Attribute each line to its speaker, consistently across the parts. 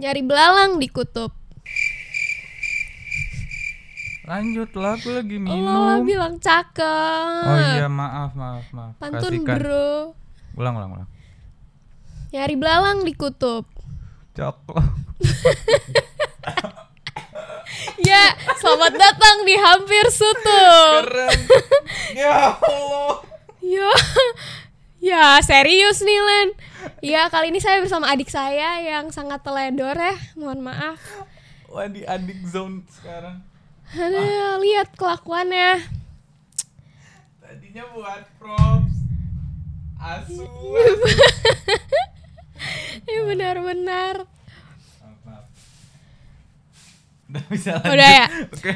Speaker 1: Nyari belalang di kutub.
Speaker 2: Lanjut lah, aku lagi
Speaker 1: Allah
Speaker 2: minum.
Speaker 1: bilang cakep.
Speaker 2: Oh iya, maaf, maaf, maaf.
Speaker 1: Pantun
Speaker 2: Kasihkan.
Speaker 1: bro.
Speaker 2: Ulang, ulang, ulang.
Speaker 1: Nyari belalang di kutub.
Speaker 2: Coklat.
Speaker 1: Ya, selamat datang di hampir sutut.
Speaker 2: Keren. ya Allah.
Speaker 1: Yo, ya serius nih Len. Ya kali ini saya bersama adik saya yang sangat teledor ya. Mohon maaf.
Speaker 2: Wah, di adik zone sekarang.
Speaker 1: Aduh, lihat kelakuannya.
Speaker 2: Tadinya buat props. Asu.
Speaker 1: Iya. Ya benar-benar.
Speaker 2: Maaf, maaf. Udah bisa lanjut.
Speaker 1: Udah ya?
Speaker 2: Oke.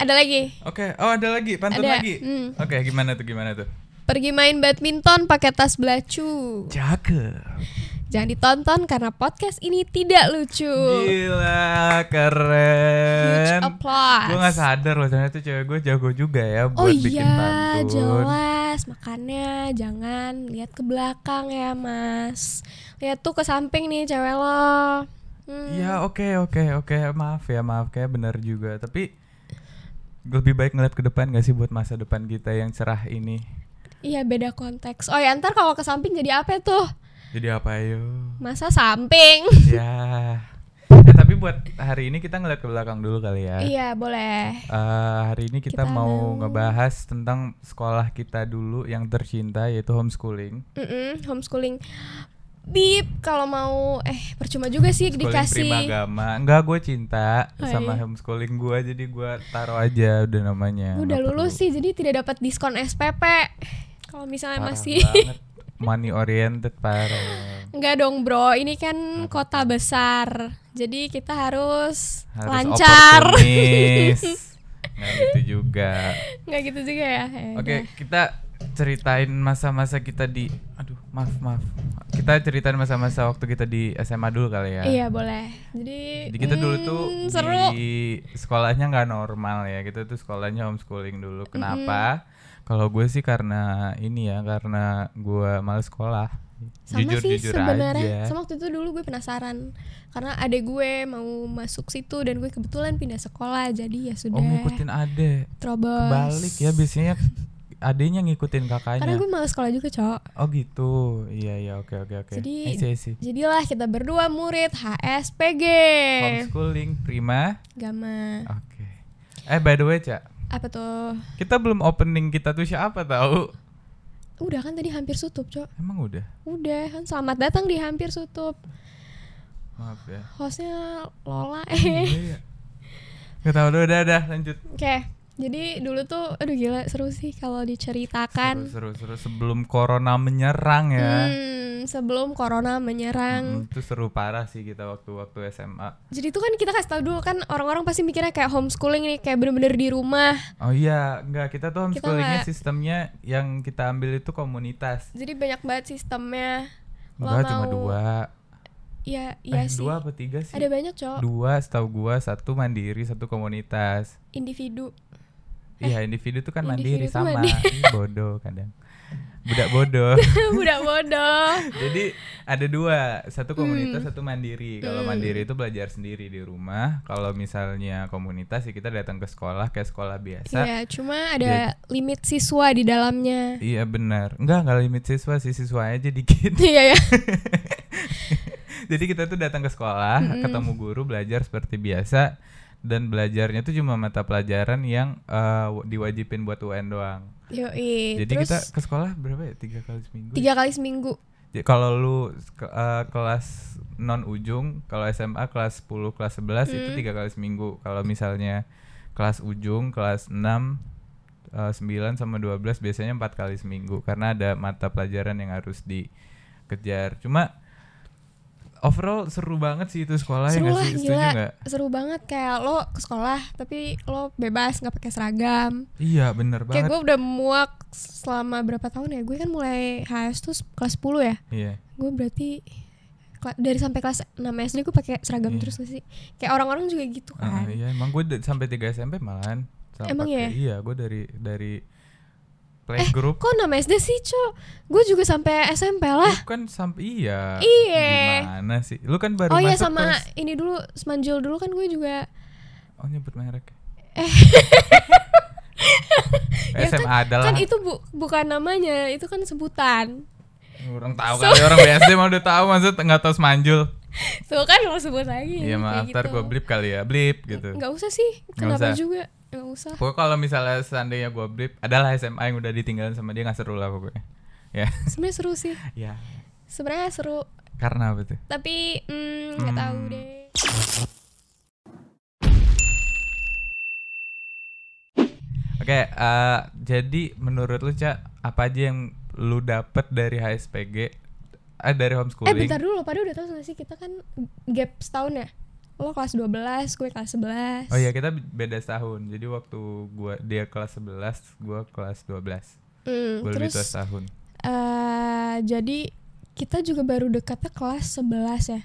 Speaker 1: Ada lagi.
Speaker 2: Oke, oh ada lagi, pantun
Speaker 1: Ada,
Speaker 2: lagi.
Speaker 1: mm.
Speaker 2: Oke, gimana tuh gimana tuh?
Speaker 1: Pergi main badminton pakai tas belacu.
Speaker 2: Cakep.
Speaker 1: Jangan ditonton karena podcast ini tidak lucu.
Speaker 2: Gila, keren.
Speaker 1: Huge applause.
Speaker 2: Gue gak sadar loh ternyata cewek gue jago juga ya buat
Speaker 1: Oh
Speaker 2: bikin
Speaker 1: iya,
Speaker 2: pantun.
Speaker 1: jelas. Makanya jangan lihat ke belakang ya, Mas. Lihat tuh ke samping nih cewek lo. Hmm.
Speaker 2: Iya, oke oke oke. Maaf ya, maaf kayak benar juga. Tapi lebih baik ngeliat ke depan gak sih buat masa depan kita yang cerah ini?
Speaker 1: Iya, beda konteks. Oh ya, ntar kalau ke samping jadi apa tuh?
Speaker 2: Jadi apa yuk?
Speaker 1: Masa samping?
Speaker 2: ya. Eh, tapi buat hari ini kita ngeliat ke belakang dulu kali ya.
Speaker 1: Iya, boleh.
Speaker 2: Eh, hari ini kita,
Speaker 1: Kita
Speaker 2: mau
Speaker 1: mau-
Speaker 2: ngebahas tentang sekolah kita dulu yang tercinta yaitu homeschooling.
Speaker 1: Mm-mm, homeschooling. Bip, kalau mau eh percuma juga sih
Speaker 2: Homeschooling
Speaker 1: dikasih.
Speaker 2: primagama. Enggak, gue cinta
Speaker 1: Oh,
Speaker 2: sama
Speaker 1: iya.
Speaker 2: homeschooling gue jadi gue taruh aja udah namanya.
Speaker 1: Udah
Speaker 2: nggak
Speaker 1: lulus
Speaker 2: perlu.
Speaker 1: sih, jadi tidak dapat diskon SPP. Kalau misalnya
Speaker 2: Parah
Speaker 1: masih
Speaker 2: banget. money oriented parah.
Speaker 1: Enggak dong bro, ini kan kota besar Jadi kita harus,
Speaker 2: Harus
Speaker 1: lancar
Speaker 2: oportunis. Nggak gitu juga.
Speaker 1: Enggak gitu juga ya ya
Speaker 2: Oke,
Speaker 1: udah.
Speaker 2: kita ceritain masa-masa kita di aduh, maaf, maaf. Kita ceritain masa-masa waktu kita di SMA dulu kali ya.
Speaker 1: Iya boleh Jadi,
Speaker 2: Jadi kita dulu
Speaker 1: hmm,
Speaker 2: tuh
Speaker 1: Seru
Speaker 2: di sekolahnya nggak normal ya. Kita tuh sekolahnya homeschooling dulu.
Speaker 1: Mm-hmm.
Speaker 2: Kenapa? Kalau gue sih karena ini ya, karena gue males sekolah.
Speaker 1: Sama sih
Speaker 2: Jujur-jujur
Speaker 1: sebenarnya
Speaker 2: aja.
Speaker 1: Sama waktu itu dulu gue penasaran Karena adek gue mau masuk situ Dan gue kebetulan pindah sekolah Jadi ya
Speaker 2: Oh
Speaker 1: sudah
Speaker 2: ngikutin ade.
Speaker 1: Terobos
Speaker 2: Kebalik ya biasanya adenya ngikutin
Speaker 1: Karena
Speaker 2: kakaknya.
Speaker 1: gue males sekolah juga cok
Speaker 2: Oh gitu. Iya iya oke oke oke.
Speaker 1: Jadi- Eh.
Speaker 2: I see, I see.
Speaker 1: Jadilah kita berdua murid HSPG
Speaker 2: homeschooling prima.
Speaker 1: Gama
Speaker 2: Oke. Eh by the way, Cak,
Speaker 1: Apa tuh?
Speaker 2: kita belum opening kita tuh siapa tahu?
Speaker 1: Udah kan tadi hampir sutup cok
Speaker 2: Emang udah.
Speaker 1: Udah kan selamat datang di hampir sutup
Speaker 2: Maaf ya.
Speaker 1: Hostnya Lola eh.
Speaker 2: Iya, iya. Gak tau udah udah udah, lanjut
Speaker 1: Oke jadi dulu tuh aduh gila seru sih kalau diceritakan
Speaker 2: seru, seru seru sebelum corona menyerang ya
Speaker 1: Hmm, sebelum corona menyerang
Speaker 2: Mm, itu seru parah sih kita waktu waktu SMA
Speaker 1: Jadi tuh kan kita kasih tau dulu kan orang-orang pasti mikirnya kayak homeschooling nih Kayak bener-bener di rumah
Speaker 2: oh iya enggak kita tuh
Speaker 1: Kita
Speaker 2: homeschoolingnya
Speaker 1: nggak-
Speaker 2: sistemnya yang kita ambil itu komunitas
Speaker 1: Jadi banyak banget sistemnya Lo
Speaker 2: enggak cuma
Speaker 1: mau-
Speaker 2: dua
Speaker 1: Iya, iya
Speaker 2: eh
Speaker 1: sih
Speaker 2: dua apa tiga sih
Speaker 1: Ada banyak cowok
Speaker 2: dua setahu gua satu mandiri satu komunitas
Speaker 1: individu
Speaker 2: iya individu tuh kan
Speaker 1: Eh, individu
Speaker 2: mandiri
Speaker 1: tuh
Speaker 2: sama
Speaker 1: mandiri.
Speaker 2: Ih, bodoh kadang budak bodoh
Speaker 1: Budak bodoh
Speaker 2: Jadi ada dua, satu
Speaker 1: Hmm.
Speaker 2: komunitas, satu mandiri. Kalau mandiri itu belajar sendiri di rumah. Kalau misalnya komunitas ya kita datang ke sekolah kayak sekolah biasa.
Speaker 1: Iya, cuma ada limit siswa di dalamnya
Speaker 2: Iya benar. Enggak enggak limit siswa sih siswa aja dikit.
Speaker 1: Iya ya
Speaker 2: Jadi kita tuh datang ke sekolah,
Speaker 1: Hmm.
Speaker 2: ketemu guru, belajar seperti biasa dan belajarnya tuh cuma mata pelajaran yang eh, w- diwajibin buat UN doang.
Speaker 1: Yoi Iya,
Speaker 2: Jadi
Speaker 1: Terus
Speaker 2: kita ke sekolah berapa ya? Tiga kali seminggu.
Speaker 1: tiga kali seminggu
Speaker 2: Jadi kalau lu ke- eh, kelas non ujung, kalau SMA kelas 10, kelas 11
Speaker 1: Hmm.
Speaker 2: itu tiga kali seminggu. Kalau misalnya kelas ujung, kelas 6, eh, 9 sama 12 biasanya empat kali seminggu karena ada mata pelajaran yang harus dikejar. Cuma overall seru banget sih itu sekolah ya
Speaker 1: seru
Speaker 2: nggak
Speaker 1: lah
Speaker 2: sih? Setuju
Speaker 1: gila
Speaker 2: nggak?
Speaker 1: seru banget kayak lo ke sekolah tapi lo bebas nggak pakai seragam
Speaker 2: Iya, bener
Speaker 1: kayak
Speaker 2: banget.
Speaker 1: gue udah muak selama berapa tahun ya gue kan mulai HS tuh se- kelas 10 ya
Speaker 2: Iya.
Speaker 1: gue berarti kela- dari sampai kelas 6 SD gue pakai seragam
Speaker 2: Iya.
Speaker 1: terus gak sih kayak orang-orang juga gitu
Speaker 2: Ah,
Speaker 1: kan
Speaker 2: iya, emang gue da- sampai 3 SMP malahan. Sama
Speaker 1: Emang ya?
Speaker 2: pakai- Iya, gue dari dari playgroup
Speaker 1: Kok nama SD sih, Cok? Gue juga sampai SMP lah.
Speaker 2: Lu kan sampai iya.
Speaker 1: Iya.
Speaker 2: Gimana sih? Lu kan baru
Speaker 1: oh iya
Speaker 2: masuk
Speaker 1: sama
Speaker 2: kelas-
Speaker 1: ini dulu Semanjul dulu kan gue juga
Speaker 2: Oh nyebut merek.
Speaker 1: eh
Speaker 2: Eh,
Speaker 1: ya
Speaker 2: SMA
Speaker 1: kan,
Speaker 2: adalah.
Speaker 1: kan itu bu- bukan namanya, itu kan sebutan.
Speaker 2: Orang tahu kali ya, orang BSD mah udah tahu maksud nggak tahu semanjul.
Speaker 1: Tuh kan lo sebut lagi.
Speaker 2: Iya maaf, ntar
Speaker 1: gitu.
Speaker 2: gue blip kali ya, blip gitu.
Speaker 1: Enggak usah sih. Kenapa
Speaker 2: usah.
Speaker 1: juga? Enggak usah.
Speaker 2: Pokoknya kalau misalnya seandainya gue blip, adalah SMA yang udah ditinggalin sama dia nggak seru lah pokoknya. Ya,
Speaker 1: Sebenarnya seru sih.
Speaker 2: ya.
Speaker 1: Sebenarnya seru,
Speaker 2: Karena apa tuh?
Speaker 1: tapi mm, nggak tahu
Speaker 2: Hmm.
Speaker 1: deh.
Speaker 2: Oke, eh, jadi menurut lu cak apa aja yang lu dapet dari HSPG? Eh dari
Speaker 1: Eh
Speaker 2: homeschooling?
Speaker 1: bentar dulu, pada udah tahu nggak sih kita kan gap setahun ya? Lo kelas 12, gue kelas 11.
Speaker 2: Oh iya kita beda setahun. Jadi waktu gua dia kelas 11, gua kelas 12.
Speaker 1: Mm,
Speaker 2: Gua lebih tua
Speaker 1: terus
Speaker 2: setahun.
Speaker 1: eh, jadi kita juga baru dekatnya kelas 11 ya.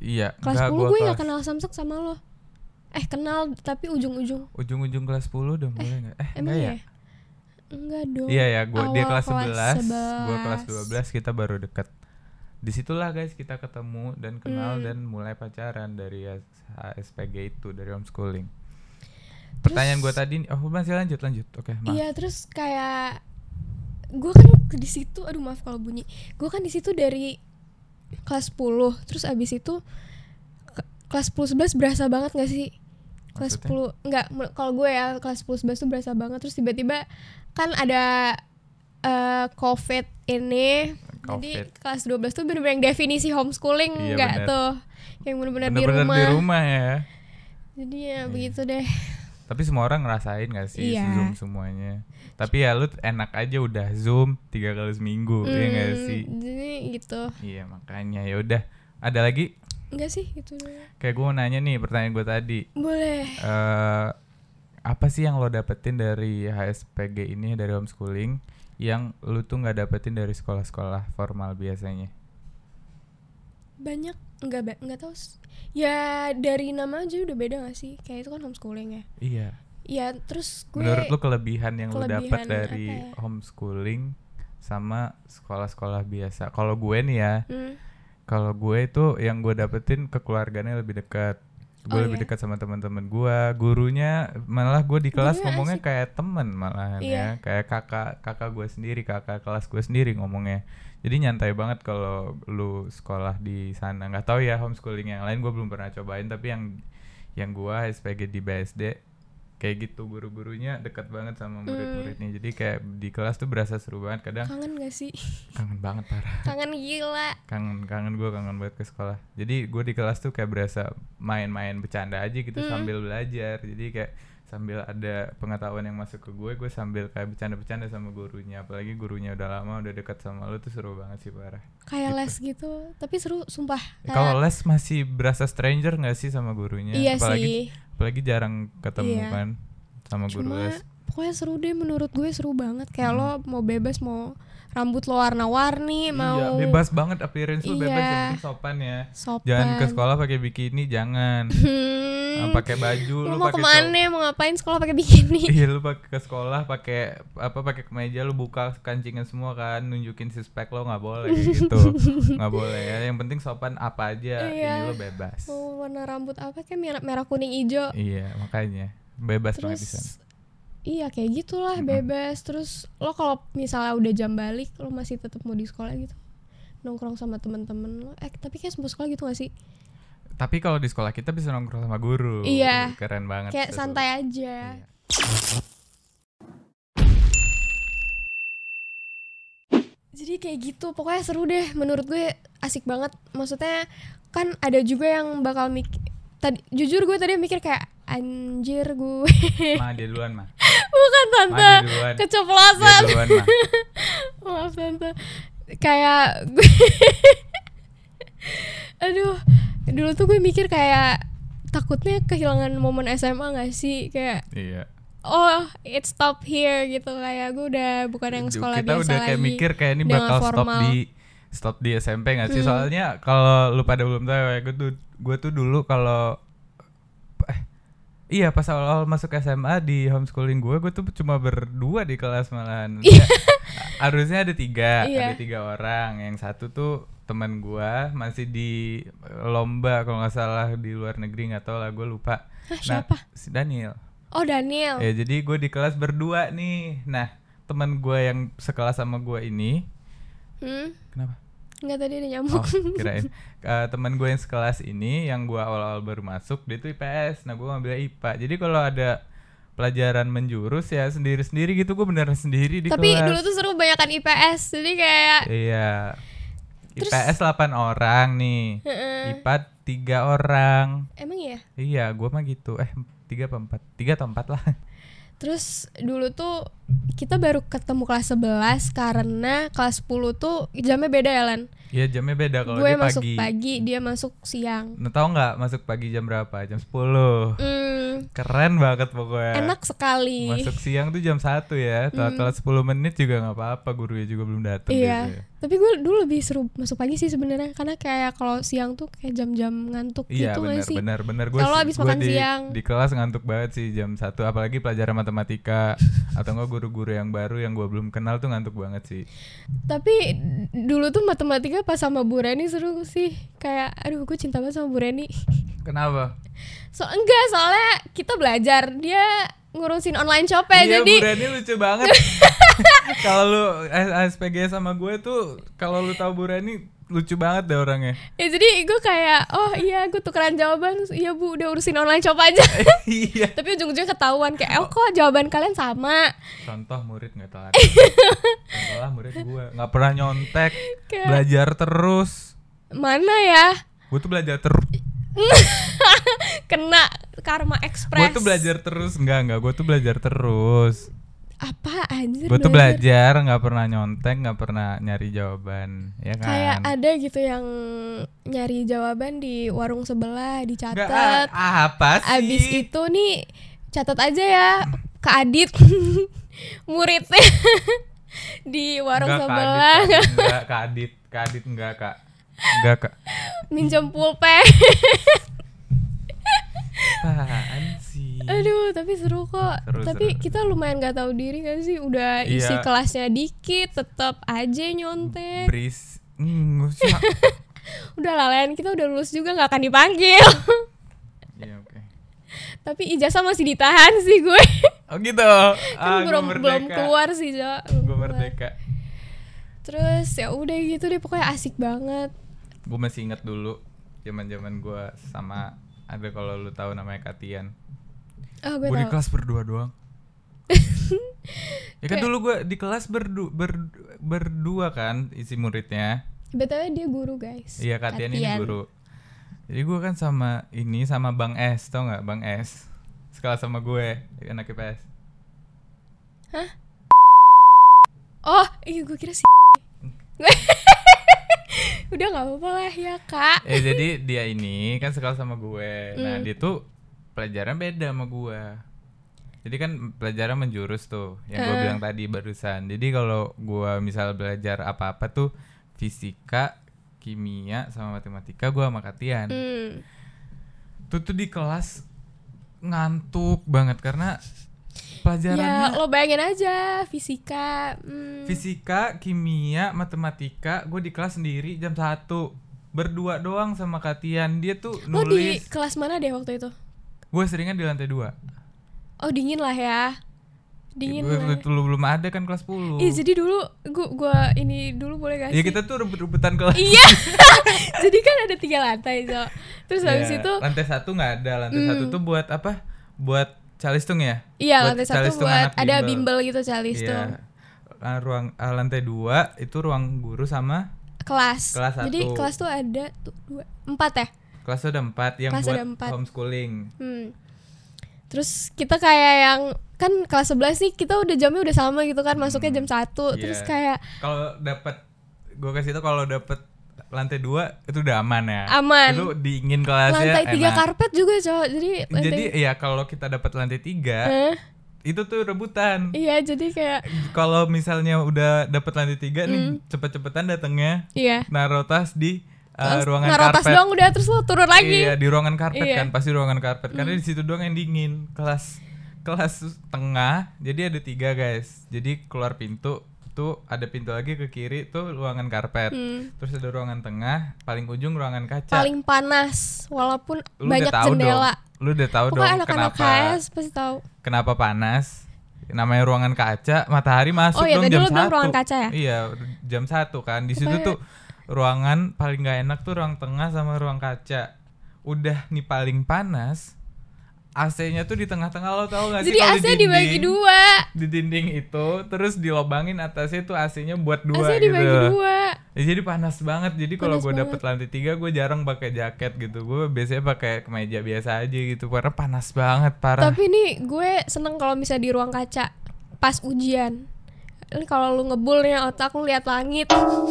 Speaker 2: Iya,
Speaker 1: Kelas
Speaker 2: enggak,
Speaker 1: 10
Speaker 2: gua
Speaker 1: gue nggak kenal
Speaker 2: kelas-
Speaker 1: samsak sama lo. Eh kenal tapi ujung-ujung.
Speaker 2: Ujung-ujung kelas 10 dong boleh enggak? Eh,
Speaker 1: Emang
Speaker 2: enggak
Speaker 1: ya?
Speaker 2: ya?
Speaker 1: Enggak dong.
Speaker 2: Iya ya, gua dia
Speaker 1: Awal
Speaker 2: kelas 11, gua
Speaker 1: 11.
Speaker 2: kelas 12 kita baru deket. Disitulah guys kita ketemu dan kenal
Speaker 1: Hmm.
Speaker 2: dan mulai pacaran dari HSPG itu dari homeschooling. Pertanyaan gua tadi, oh masih lanjut lanjut, oke maaf.
Speaker 1: Iya terus kayak gue kan di situ, aduh maaf kalau bunyi. Gue kan di situ dari kelas 10 terus abis itu ke- kelas 10 11 berasa banget gak sih? Kelas
Speaker 2: Maksudnya?
Speaker 1: 10 enggak mul- kalau gue ya kelas 10 11 tuh berasa banget terus tiba-tiba kan ada eh, covid ini. Jadi
Speaker 2: Covid.
Speaker 1: kelas 12 tuh bener-bener yang definisi homeschooling
Speaker 2: Iya,
Speaker 1: enggak
Speaker 2: bener.
Speaker 1: tuh. Yang bener-bener di
Speaker 2: Bener-bener
Speaker 1: rumah.
Speaker 2: di rumah Iya. ya.
Speaker 1: Jadi ya begitu deh.
Speaker 2: Tapi semua orang ngerasain gak sih
Speaker 1: Iya.
Speaker 2: Zoom semuanya? Tapi ya lu enak aja udah Zoom tiga kali seminggu, ya gak
Speaker 1: Hmm,
Speaker 2: sih?
Speaker 1: Jadi gitu.
Speaker 2: Iya makanya ya udah. Ada lagi?
Speaker 1: Enggak sih gitu doang.
Speaker 2: Kayak gue mau nanya nih pertanyaan gue tadi.
Speaker 1: Boleh.
Speaker 2: eh apa sih yang lo dapetin dari HSPG ini dari homeschooling yang lu tuh nggak dapetin dari sekolah-sekolah formal biasanya?
Speaker 1: Banyak enggak ba- enggak tahu. s- Ya dari nama aja udah beda gak sih? Kayak itu kan homeschooling ya.
Speaker 2: Iya.
Speaker 1: Ya terus gue
Speaker 2: Menurut lu kelebihan yang lu dapet
Speaker 1: kelebihan
Speaker 2: dari
Speaker 1: apa ya?
Speaker 2: homeschooling sama sekolah-sekolah biasa? Kalau gue nih ya,
Speaker 1: Hmm,
Speaker 2: Kalau gue itu yang gue dapetin kekeluarganya lebih dekat. Gue
Speaker 1: Oh, iya.
Speaker 2: lebih dekat sama teman-teman gue. Gurunya malah gue di kelas
Speaker 1: Gurunya
Speaker 2: ngomongnya
Speaker 1: asik.
Speaker 2: kayak temen malahan ya,
Speaker 1: Iya.
Speaker 2: kayak kakak kakak gue sendiri, kakak kelas gue sendiri ngomongnya. Jadi nyantai banget kalau lu sekolah di sana. Nggak tahu ya homeschooling yang lain gue belum pernah cobain, tapi yang yang gue SPG di BSD kayak gitu guru-gurunya dekat banget sama
Speaker 1: Hmm.
Speaker 2: murid-muridnya. Jadi kayak di kelas tuh berasa seru banget. Kadang
Speaker 1: kangen gak sih?
Speaker 2: kangen banget parah
Speaker 1: kangen gila.
Speaker 2: kangen kangen gue kangen banget ke sekolah jadi gue di kelas tuh kayak berasa main-main bercanda aja gitu
Speaker 1: Hmm.
Speaker 2: sambil belajar jadi kayak sambil ada pengetahuan yang masuk ke gue gue sambil kayak bercanda-bercanda sama gurunya apalagi gurunya udah lama udah dekat sama lu tuh seru banget sih parah
Speaker 1: Kayak les gitu. Tapi seru sumpah.
Speaker 2: Eh, kalau les masih berasa stranger nggak sih sama gurunya
Speaker 1: Iya
Speaker 2: apalagi
Speaker 1: sih.
Speaker 2: apalagi jarang ketemu
Speaker 1: Iya.
Speaker 2: kan sama guru
Speaker 1: Cuma
Speaker 2: les Hmm.
Speaker 1: pokoknya seru deh menurut gue seru banget. Kayak lo mau bebas mau rambut lo warna-warni, mau
Speaker 2: iya bebas banget appearance lu bebas
Speaker 1: Iya. Kan.
Speaker 2: yang penting sopan ya
Speaker 1: sopan.
Speaker 2: jangan ke sekolah pakai bikini jangan
Speaker 1: Hmm,
Speaker 2: Nah, pakai baju
Speaker 1: lo
Speaker 2: lu,
Speaker 1: mau
Speaker 2: pakai
Speaker 1: kemana? Mau ngapain sekolah pakai bikini?
Speaker 2: Iya lu pakai ke sekolah pakai apa pakai kemeja lu buka kancingan semua kan nunjukin six pack lo nggak boleh kayak gitu nggak boleh ya yang penting sopan apa aja
Speaker 1: Iya.
Speaker 2: ini lo bebas
Speaker 1: mau warna rambut apa kayak merah, merah kuning hijau
Speaker 2: iya makanya bebas banget di sana
Speaker 1: terus iya kayak gitulah bebas terus lo kalau misalnya udah jam balik lo masih tetap mau di sekolah gitu nongkrong sama temen-temen lo eh tapi kayak semua sekolah gitu gak sih
Speaker 2: tapi kalau di sekolah kita bisa nongkrong sama guru
Speaker 1: Iya.
Speaker 2: keren banget
Speaker 1: kayak
Speaker 2: seru.
Speaker 1: santai aja
Speaker 2: Iya.
Speaker 1: jadi kayak gitu pokoknya seru deh menurut gue asik banget maksudnya kan ada juga yang bakal mikir tadi jujur gue tadi mikir kayak anjir gue
Speaker 2: Ma dia duluan ma
Speaker 1: bukan
Speaker 2: Ma
Speaker 1: tante
Speaker 2: dia duluan Iya dia
Speaker 1: keceplosan
Speaker 2: duluan ma
Speaker 1: Maaf tante Kayak gue Aduh Dulu tuh gue mikir kayak Takutnya kehilangan momen SMA gak sih Kayak
Speaker 2: iya
Speaker 1: Oh it stop here gitu Kayak gue udah bukan yang
Speaker 2: Duh,
Speaker 1: sekolah
Speaker 2: kita
Speaker 1: biasa
Speaker 2: udah
Speaker 1: lagi
Speaker 2: kayak mikir kayak ini
Speaker 1: udah
Speaker 2: bakal
Speaker 1: nggak
Speaker 2: stop
Speaker 1: formal. Hmm.
Speaker 2: di stop di SMP nggak sih soalnya kalau lu pada belum tahu ya gue tuh gue tuh dulu kalau eh Iya pas awal-awal masuk SMA di homeschooling gue, gue tuh cuma berdua di kelas malahan. Maksudnya, harusnya ada tiga,
Speaker 1: Iya.
Speaker 2: ada tiga orang. Yang satu tuh teman gue masih di lomba kalau nggak salah di luar negeri nggak tahu lah gue lupa. Nah,
Speaker 1: Hah, siapa?
Speaker 2: si Daniel.
Speaker 1: Oh Daniel.
Speaker 2: Ya jadi gue di kelas berdua nih. Nah teman gue yang sekelas sama gue ini,
Speaker 1: Hmm?
Speaker 2: kenapa?
Speaker 1: Enggak tadi ada
Speaker 2: Oh,
Speaker 1: nyamuk.
Speaker 2: kirain. Eh, teman gue yang sekelas ini yang gue awal-awal baru masuk, dia tuh IPS. Nah, gue ngambil IPA. Jadi kalau ada pelajaran menjurus ya sendiri-sendiri gitu, gue beneran sendiri di
Speaker 1: Tapi
Speaker 2: kelas.
Speaker 1: dulu tuh seru banyakan IPS. Jadi kayak
Speaker 2: Iya.
Speaker 1: Terus- Hmm.
Speaker 2: IPS 8 orang nih.
Speaker 1: Heeh.
Speaker 2: IPA 3 orang.
Speaker 1: emang ya?
Speaker 2: Iya, gue mah gitu. Eh, 3 apa 4? 3 atau 4 lah.
Speaker 1: Terus dulu tuh kita baru ketemu kelas 11 karena kelas 10 tuh jamnya beda ya Lan.
Speaker 2: Iya, jamnya beda kalau
Speaker 1: Gue
Speaker 2: dia
Speaker 1: masuk
Speaker 2: pagi.
Speaker 1: pagi. dia masuk siang.
Speaker 2: Nah, tau nggak masuk pagi jam berapa? Jam 10.
Speaker 1: Hmm,
Speaker 2: Keren banget pokoknya.
Speaker 1: enak sekali.
Speaker 2: Masuk siang tuh jam 1 ya. Telat-telat 10 menit juga nggak apa-apa, gurunya juga belum datang biasanya.
Speaker 1: Iya. Tapi gue dulu lebih seru masuk pagi sih sebenarnya karena kayak kalau siang tuh kayak jam-jam ngantuk
Speaker 2: Iya
Speaker 1: gitu
Speaker 2: benar
Speaker 1: nggak sih?
Speaker 2: benar benar gue
Speaker 1: Kalau habis makan
Speaker 2: di,
Speaker 1: siang.
Speaker 2: di kelas ngantuk banget sih jam satu apalagi pelajaran matematika atau enggak guru-guru yang baru yang gue belum kenal tuh ngantuk banget sih
Speaker 1: Tapi dulu tuh matematika pas sama Bu Reni seru sih. Kayak aduh gue cinta banget sama Bu Reni.
Speaker 2: kenapa
Speaker 1: So enggak soalnya kita belajar dia ngurusin online shop
Speaker 2: iya
Speaker 1: jadi
Speaker 2: Bu Reni lucu banget kalau lu S- SPG sama gue tuh kalau lu tahu Bu Reni lucu banget deh orangnya
Speaker 1: ya jadi gue kayak oh iya gue tukeran jawaban terus, iya Bu udah urusin online shop aja.
Speaker 2: iya
Speaker 1: Tapi ujung-ujungnya ketahuan kayak oh kok jawaban kalian sama.
Speaker 2: contoh murid nggak telat contoh lah murid gue nggak pernah nyontek
Speaker 1: Kayak-
Speaker 2: belajar terus
Speaker 1: Mana ya?
Speaker 2: gue tuh belajar terus
Speaker 1: Kena Karma
Speaker 2: gue
Speaker 1: Express.
Speaker 2: tuh belajar terus enggak enggak gue tuh belajar terus
Speaker 1: Apa anjir?
Speaker 2: gue tuh belajar nggak pernah nyontek nggak pernah nyari jawaban ya kan
Speaker 1: Kayak ada gitu yang nyari jawaban di warung sebelah
Speaker 2: Nggak,
Speaker 1: dicatat.
Speaker 2: ah, apa sih
Speaker 1: Abis itu nih catat aja ya ke Adit muridnya di warung
Speaker 2: Nggak, Kak Adit, kan.
Speaker 1: sebelah
Speaker 2: Kak Adit, nggak Kak Adit Kak Adit nggak kak nggak kak
Speaker 1: minjem pulpen.
Speaker 2: apaan sih
Speaker 1: Aduh, tapi seru kok.
Speaker 2: Hmm. Seru,
Speaker 1: tapi
Speaker 2: seru,
Speaker 1: kita lumayan nggak tahu diri gak sih? Udah isi
Speaker 2: Iya.
Speaker 1: kelasnya dikit, tetap aja nyontek.
Speaker 2: Bris Hmm, nggak usah.
Speaker 1: Udah lah, lain kita udah lulus juga nggak akan dipanggil.
Speaker 2: Iya, oke.
Speaker 1: tapi ijazah masih ditahan sih gue.
Speaker 2: Oh gitu.
Speaker 1: kan belum belum keluar sih, Jo. Belum
Speaker 2: Gue
Speaker 1: keluar.
Speaker 2: merdeka.
Speaker 1: Terus ya udah gitu deh pokoknya asik banget.
Speaker 2: Gue masih inget dulu zaman-zaman gue sama ada kalau lu tahu namanya Katian.
Speaker 1: Ah, gue
Speaker 2: Gue di
Speaker 1: tahu.
Speaker 2: kelas berdua doang. ya kan
Speaker 1: Kayak-
Speaker 2: dulu gue di kelas berdu, ber- berdua kan isi muridnya.
Speaker 1: Btw dia guru guys.
Speaker 2: Iya Katian ini guru. Jadi gue kan sama ini sama Bang S tau nggak Bang S sekolah sama gue anak IPS.
Speaker 1: Oh iya gue kira sih. Udah nggak apa-apa lah ya kak.
Speaker 2: Eh jadi dia ini kan sekolah sama gue. Nah
Speaker 1: Hmm.
Speaker 2: dia tuh pelajaran beda sama gue. Jadi kan pelajaran menjurus tuh yang gue
Speaker 1: Eh.
Speaker 2: bilang tadi barusan. Jadi kalau gue misal belajar apa-apa tuh fisika, kimia sama matematika gue sama Katian.
Speaker 1: Hmm.
Speaker 2: Tuh tuh di kelas ngantuk banget karena
Speaker 1: Ya
Speaker 2: pelajarannya
Speaker 1: lo bayangin aja fisika. hmm.
Speaker 2: fisika, kimia, matematika gue di kelas sendiri jam 1 berdua doang sama Katian. Dia tuh
Speaker 1: Lo di
Speaker 2: nulis
Speaker 1: kelas mana deh waktu itu?
Speaker 2: Gue seringan di lantai 2
Speaker 1: Oh dingin lah ya.
Speaker 2: Iya,
Speaker 1: Dingin lah.
Speaker 2: Dulu belum ada kan kelas 10
Speaker 1: Ih Iya, jadi dulu gua, gua ini dulu boleh gak
Speaker 2: Ya
Speaker 1: sih?
Speaker 2: kita tuh rebut-rebutan kelas
Speaker 1: Iya. jadi kan ada tiga lantai so. Terus habis
Speaker 2: Ya,
Speaker 1: itu
Speaker 2: Lantai 1 gak ada Lantai 1
Speaker 1: Hmm.
Speaker 2: tuh buat apa? Buat calistung ya?
Speaker 1: iya
Speaker 2: Buat
Speaker 1: lantai satu
Speaker 2: calistung
Speaker 1: buat
Speaker 2: anak
Speaker 1: ada bimbel gitu calis
Speaker 2: Iya.
Speaker 1: tuh.
Speaker 2: Ah, ruang ah, lantai 2 itu ruang guru sama
Speaker 1: kelas.
Speaker 2: Kelas
Speaker 1: Jadi
Speaker 2: satu.
Speaker 1: kelas tuh ada tuh dua empat ya.
Speaker 2: kelas tuh ada 4 yang
Speaker 1: Kelas
Speaker 2: buat
Speaker 1: ada empat.
Speaker 2: homeschooling.
Speaker 1: Hmm. Terus kita kayak yang kan kelas 11 nih kita udah jamnya udah sama gitu kan masuknya jam 1 terus
Speaker 2: Iya.
Speaker 1: kayak
Speaker 2: Kalau dapat gue kasih itu kalau dapat lantai 2 itu udah aman ya.
Speaker 1: Aman.
Speaker 2: Itu dingin kelasnya.
Speaker 1: lantai tiga
Speaker 2: enak.
Speaker 1: karpet juga cowok jadi lantai Eh.
Speaker 2: Jadi ya kalau kita dapat lantai 3
Speaker 1: Hah?
Speaker 2: itu tuh rebutan.
Speaker 1: iya jadi kayak
Speaker 2: kalau
Speaker 1: Hmm.
Speaker 2: misalnya udah dapet lantai tiga nih cepet-cepetan datangnya
Speaker 1: iya
Speaker 2: naro tas di eh, eh, ruangan
Speaker 1: narotas
Speaker 2: karpet.
Speaker 1: doang udah terus lo turun lagi.
Speaker 2: Iya, di ruangan karpet
Speaker 1: Iya. Hmm.
Speaker 2: kan, pasti ruangan karpet. Karena di situ doang yang dingin. Kelas kelas tengah, jadi ada tiga guys. Jadi keluar pintu tuh ada pintu lagi ke kiri tuh ruangan karpet.
Speaker 1: Hmm.
Speaker 2: Terus ada ruangan tengah, paling ujung ruangan kaca.
Speaker 1: Paling panas walaupun
Speaker 2: Lu udah
Speaker 1: banyak
Speaker 2: tahu
Speaker 1: jendela.
Speaker 2: Dong. Lu udah tahu
Speaker 1: Pokoknya
Speaker 2: dong
Speaker 1: anak-anak
Speaker 2: kenapa
Speaker 1: KS pasti tahu.
Speaker 2: kenapa panas? Namanya ruangan kaca, matahari masuk
Speaker 1: Oh iya,
Speaker 2: dong
Speaker 1: tadi
Speaker 2: jam
Speaker 1: lu bilang
Speaker 2: satu.
Speaker 1: ruangan kaca ya?
Speaker 2: Iya, jam satu kan. Di situ
Speaker 1: Pokoknya-
Speaker 2: tuh ruangan paling gak enak tuh ruang tengah sama ruang kaca. Udah nih paling panas. AC-nya tuh di tengah-tengah lo tau gak sih?
Speaker 1: Jadi
Speaker 2: kalau
Speaker 1: AC dibagi
Speaker 2: dinding-
Speaker 1: dua.
Speaker 2: Di dinding itu terus dilobangin atasnya tuh AC-nya buat dua
Speaker 1: AC
Speaker 2: gitu.
Speaker 1: dibagi dua.
Speaker 2: Ya, jadi panas banget. Jadi kalau
Speaker 1: Panas
Speaker 2: gue
Speaker 1: banget.
Speaker 2: dapet lantai tiga, gue jarang pakai jaket gitu. Gue biasanya pakai kemeja biasa aja gitu. Karena panas banget parah.
Speaker 1: Tapi nih gue seneng kalau misalnya di ruang kaca pas ujian. Ini kalau lu ngebulnya otak lu lihat langit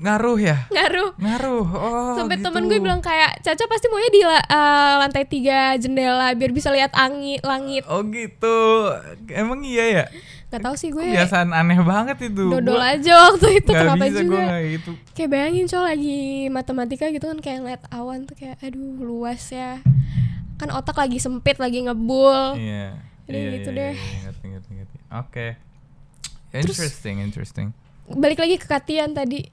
Speaker 2: Ngaruh ya?
Speaker 1: ngaruh.
Speaker 2: Ngaruh. Oh.
Speaker 1: Sampai
Speaker 2: gitu.
Speaker 1: temen gue bilang kayak Caca pasti maunya di la- eh, lantai tiga jendela biar bisa lihat angin langit.
Speaker 2: Oh gitu. Emang iya ya?
Speaker 1: Gak tau sih gue
Speaker 2: Kebiasaan aneh banget itu.
Speaker 1: dodol
Speaker 2: Gua
Speaker 1: aja waktu itu
Speaker 2: nggak
Speaker 1: kenapa
Speaker 2: bisa
Speaker 1: juga.
Speaker 2: gue nggak gitu. itu.
Speaker 1: Kayak bayangin cowok lagi matematika gitu kan kayak ngeliat awan tuh kayak aduh luas ya. Kan otak lagi sempit lagi ngebul.
Speaker 2: Iya.
Speaker 1: Jadi
Speaker 2: iya,
Speaker 1: Oh, gitu
Speaker 2: iya,
Speaker 1: deh.
Speaker 2: iya, ngerti, ngerti, ngerti. Oke. Interesting, interesting.
Speaker 1: Balik lagi ke Katian tadi.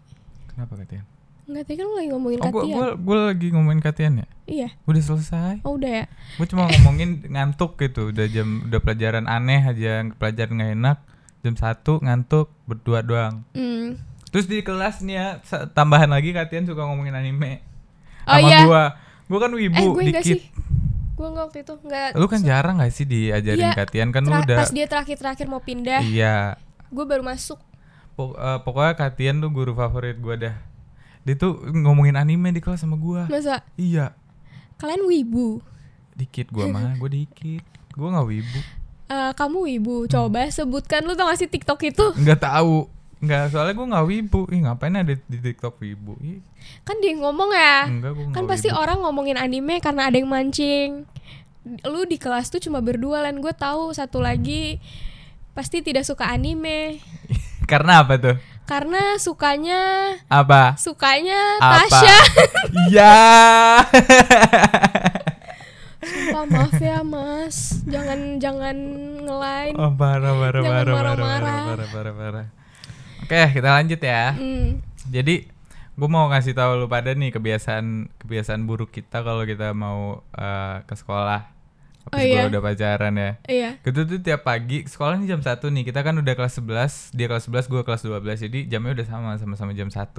Speaker 2: Kenapa Katian?
Speaker 1: Enggak tadi kan lu lagi ngomongin
Speaker 2: Oh, gue
Speaker 1: Katian.
Speaker 2: gua, gua lagi ngomongin Katian ya?
Speaker 1: Iya.
Speaker 2: Udah selesai.
Speaker 1: Oh udah ya.
Speaker 2: gue cuma ngomongin ngantuk gitu udah jam udah pelajaran aneh aja pelajaran nggak enak jam satu ngantuk berdua doang
Speaker 1: Hmm.
Speaker 2: terus di kelas nih ya sa- tambahan lagi Katian suka ngomongin anime
Speaker 1: Oh
Speaker 2: sama
Speaker 1: iya.
Speaker 2: gua gua kan wibu
Speaker 1: eh gue enggak
Speaker 2: dikit
Speaker 1: sih. Gue enggak waktu itu enggak.
Speaker 2: lu kan jarang gak sih diajarin
Speaker 1: Iya,
Speaker 2: Katian kan lu
Speaker 1: tra-
Speaker 2: udah
Speaker 1: pas dia terakhir-terakhir mau pindah,
Speaker 2: iya
Speaker 1: gue baru masuk.
Speaker 2: Po- eh, pokoknya Katian tuh guru favorit gua dah dia tuh ngomongin anime di kelas sama gua
Speaker 1: Masa
Speaker 2: iya
Speaker 1: kalian wibu?
Speaker 2: dikit gua mah gua dikit gua nggak wibu
Speaker 1: Eh, kamu wibu, coba sebutkan lu tau gak sih TikTok itu?
Speaker 2: nggak tahu nggak soalnya gue nggak wibu Ih, ngapain ada di tiktok wibu Ih,
Speaker 1: Kan dia yang ngomong ya.
Speaker 2: enggak gue
Speaker 1: kan pasti orang ngomongin anime karena ada yang mancing lu di kelas tuh cuma berdua lan gue tahu satu lagi pasti tidak suka anime
Speaker 2: karena apa tuh
Speaker 1: karena sukanya
Speaker 2: apa
Speaker 1: sukanya
Speaker 2: apa Iya.
Speaker 1: Tasya
Speaker 2: ya
Speaker 1: Sumpah, maaf ya mas jangan jangan ngelain
Speaker 2: oh, parah parah
Speaker 1: Jangan
Speaker 2: parah parah
Speaker 1: marah-marah.
Speaker 2: parah parah parah parah oke kita lanjut ya
Speaker 1: Hmm,
Speaker 2: jadi gue mau ngasih tahu lu pada nih kebiasaan kebiasaan buruk kita kalau kita mau eh, ke sekolah
Speaker 1: Oh,
Speaker 2: habis
Speaker 1: iya.
Speaker 2: gua udah pacaran ya
Speaker 1: iya
Speaker 2: Gitu tuh tiap pagi sekolah nih jam 1 nih. Kita kan udah kelas 11, dia kelas 11, gua kelas 12. Jadi jamnya udah sama sama-sama jam 1.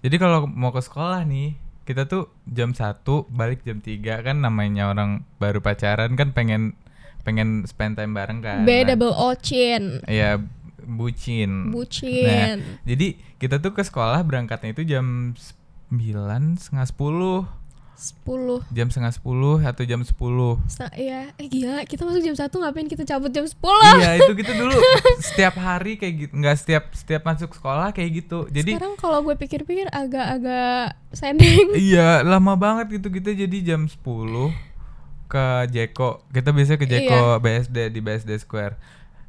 Speaker 2: Jadi kalau mau ke sekolah nih, kita tuh jam 1 balik jam 3 kan namanya orang baru pacaran kan pengen pengen spend time bareng kan.
Speaker 1: B
Speaker 2: Nah,
Speaker 1: double O chin
Speaker 2: ya bucin. Nah,
Speaker 1: bucin
Speaker 2: jadi kita tuh ke sekolah berangkatnya itu jam 9 setengah 10
Speaker 1: sepuluh
Speaker 2: jam setengah 10 atau jam 10
Speaker 1: Sa- iya eh gila kita masuk jam satu ngapain kita cabut jam sepuluh
Speaker 2: Iya itu gitu dulu setiap hari kayak gitu nggak setiap setiap masuk sekolah kayak gitu jadi
Speaker 1: sekarang kalau gue pikir-pikir agak-agak sending
Speaker 2: iya lama banget gitu kita jadi jam 10 ke Jeko kita biasanya ke
Speaker 1: Iya.
Speaker 2: Jeko BSD di BSD Square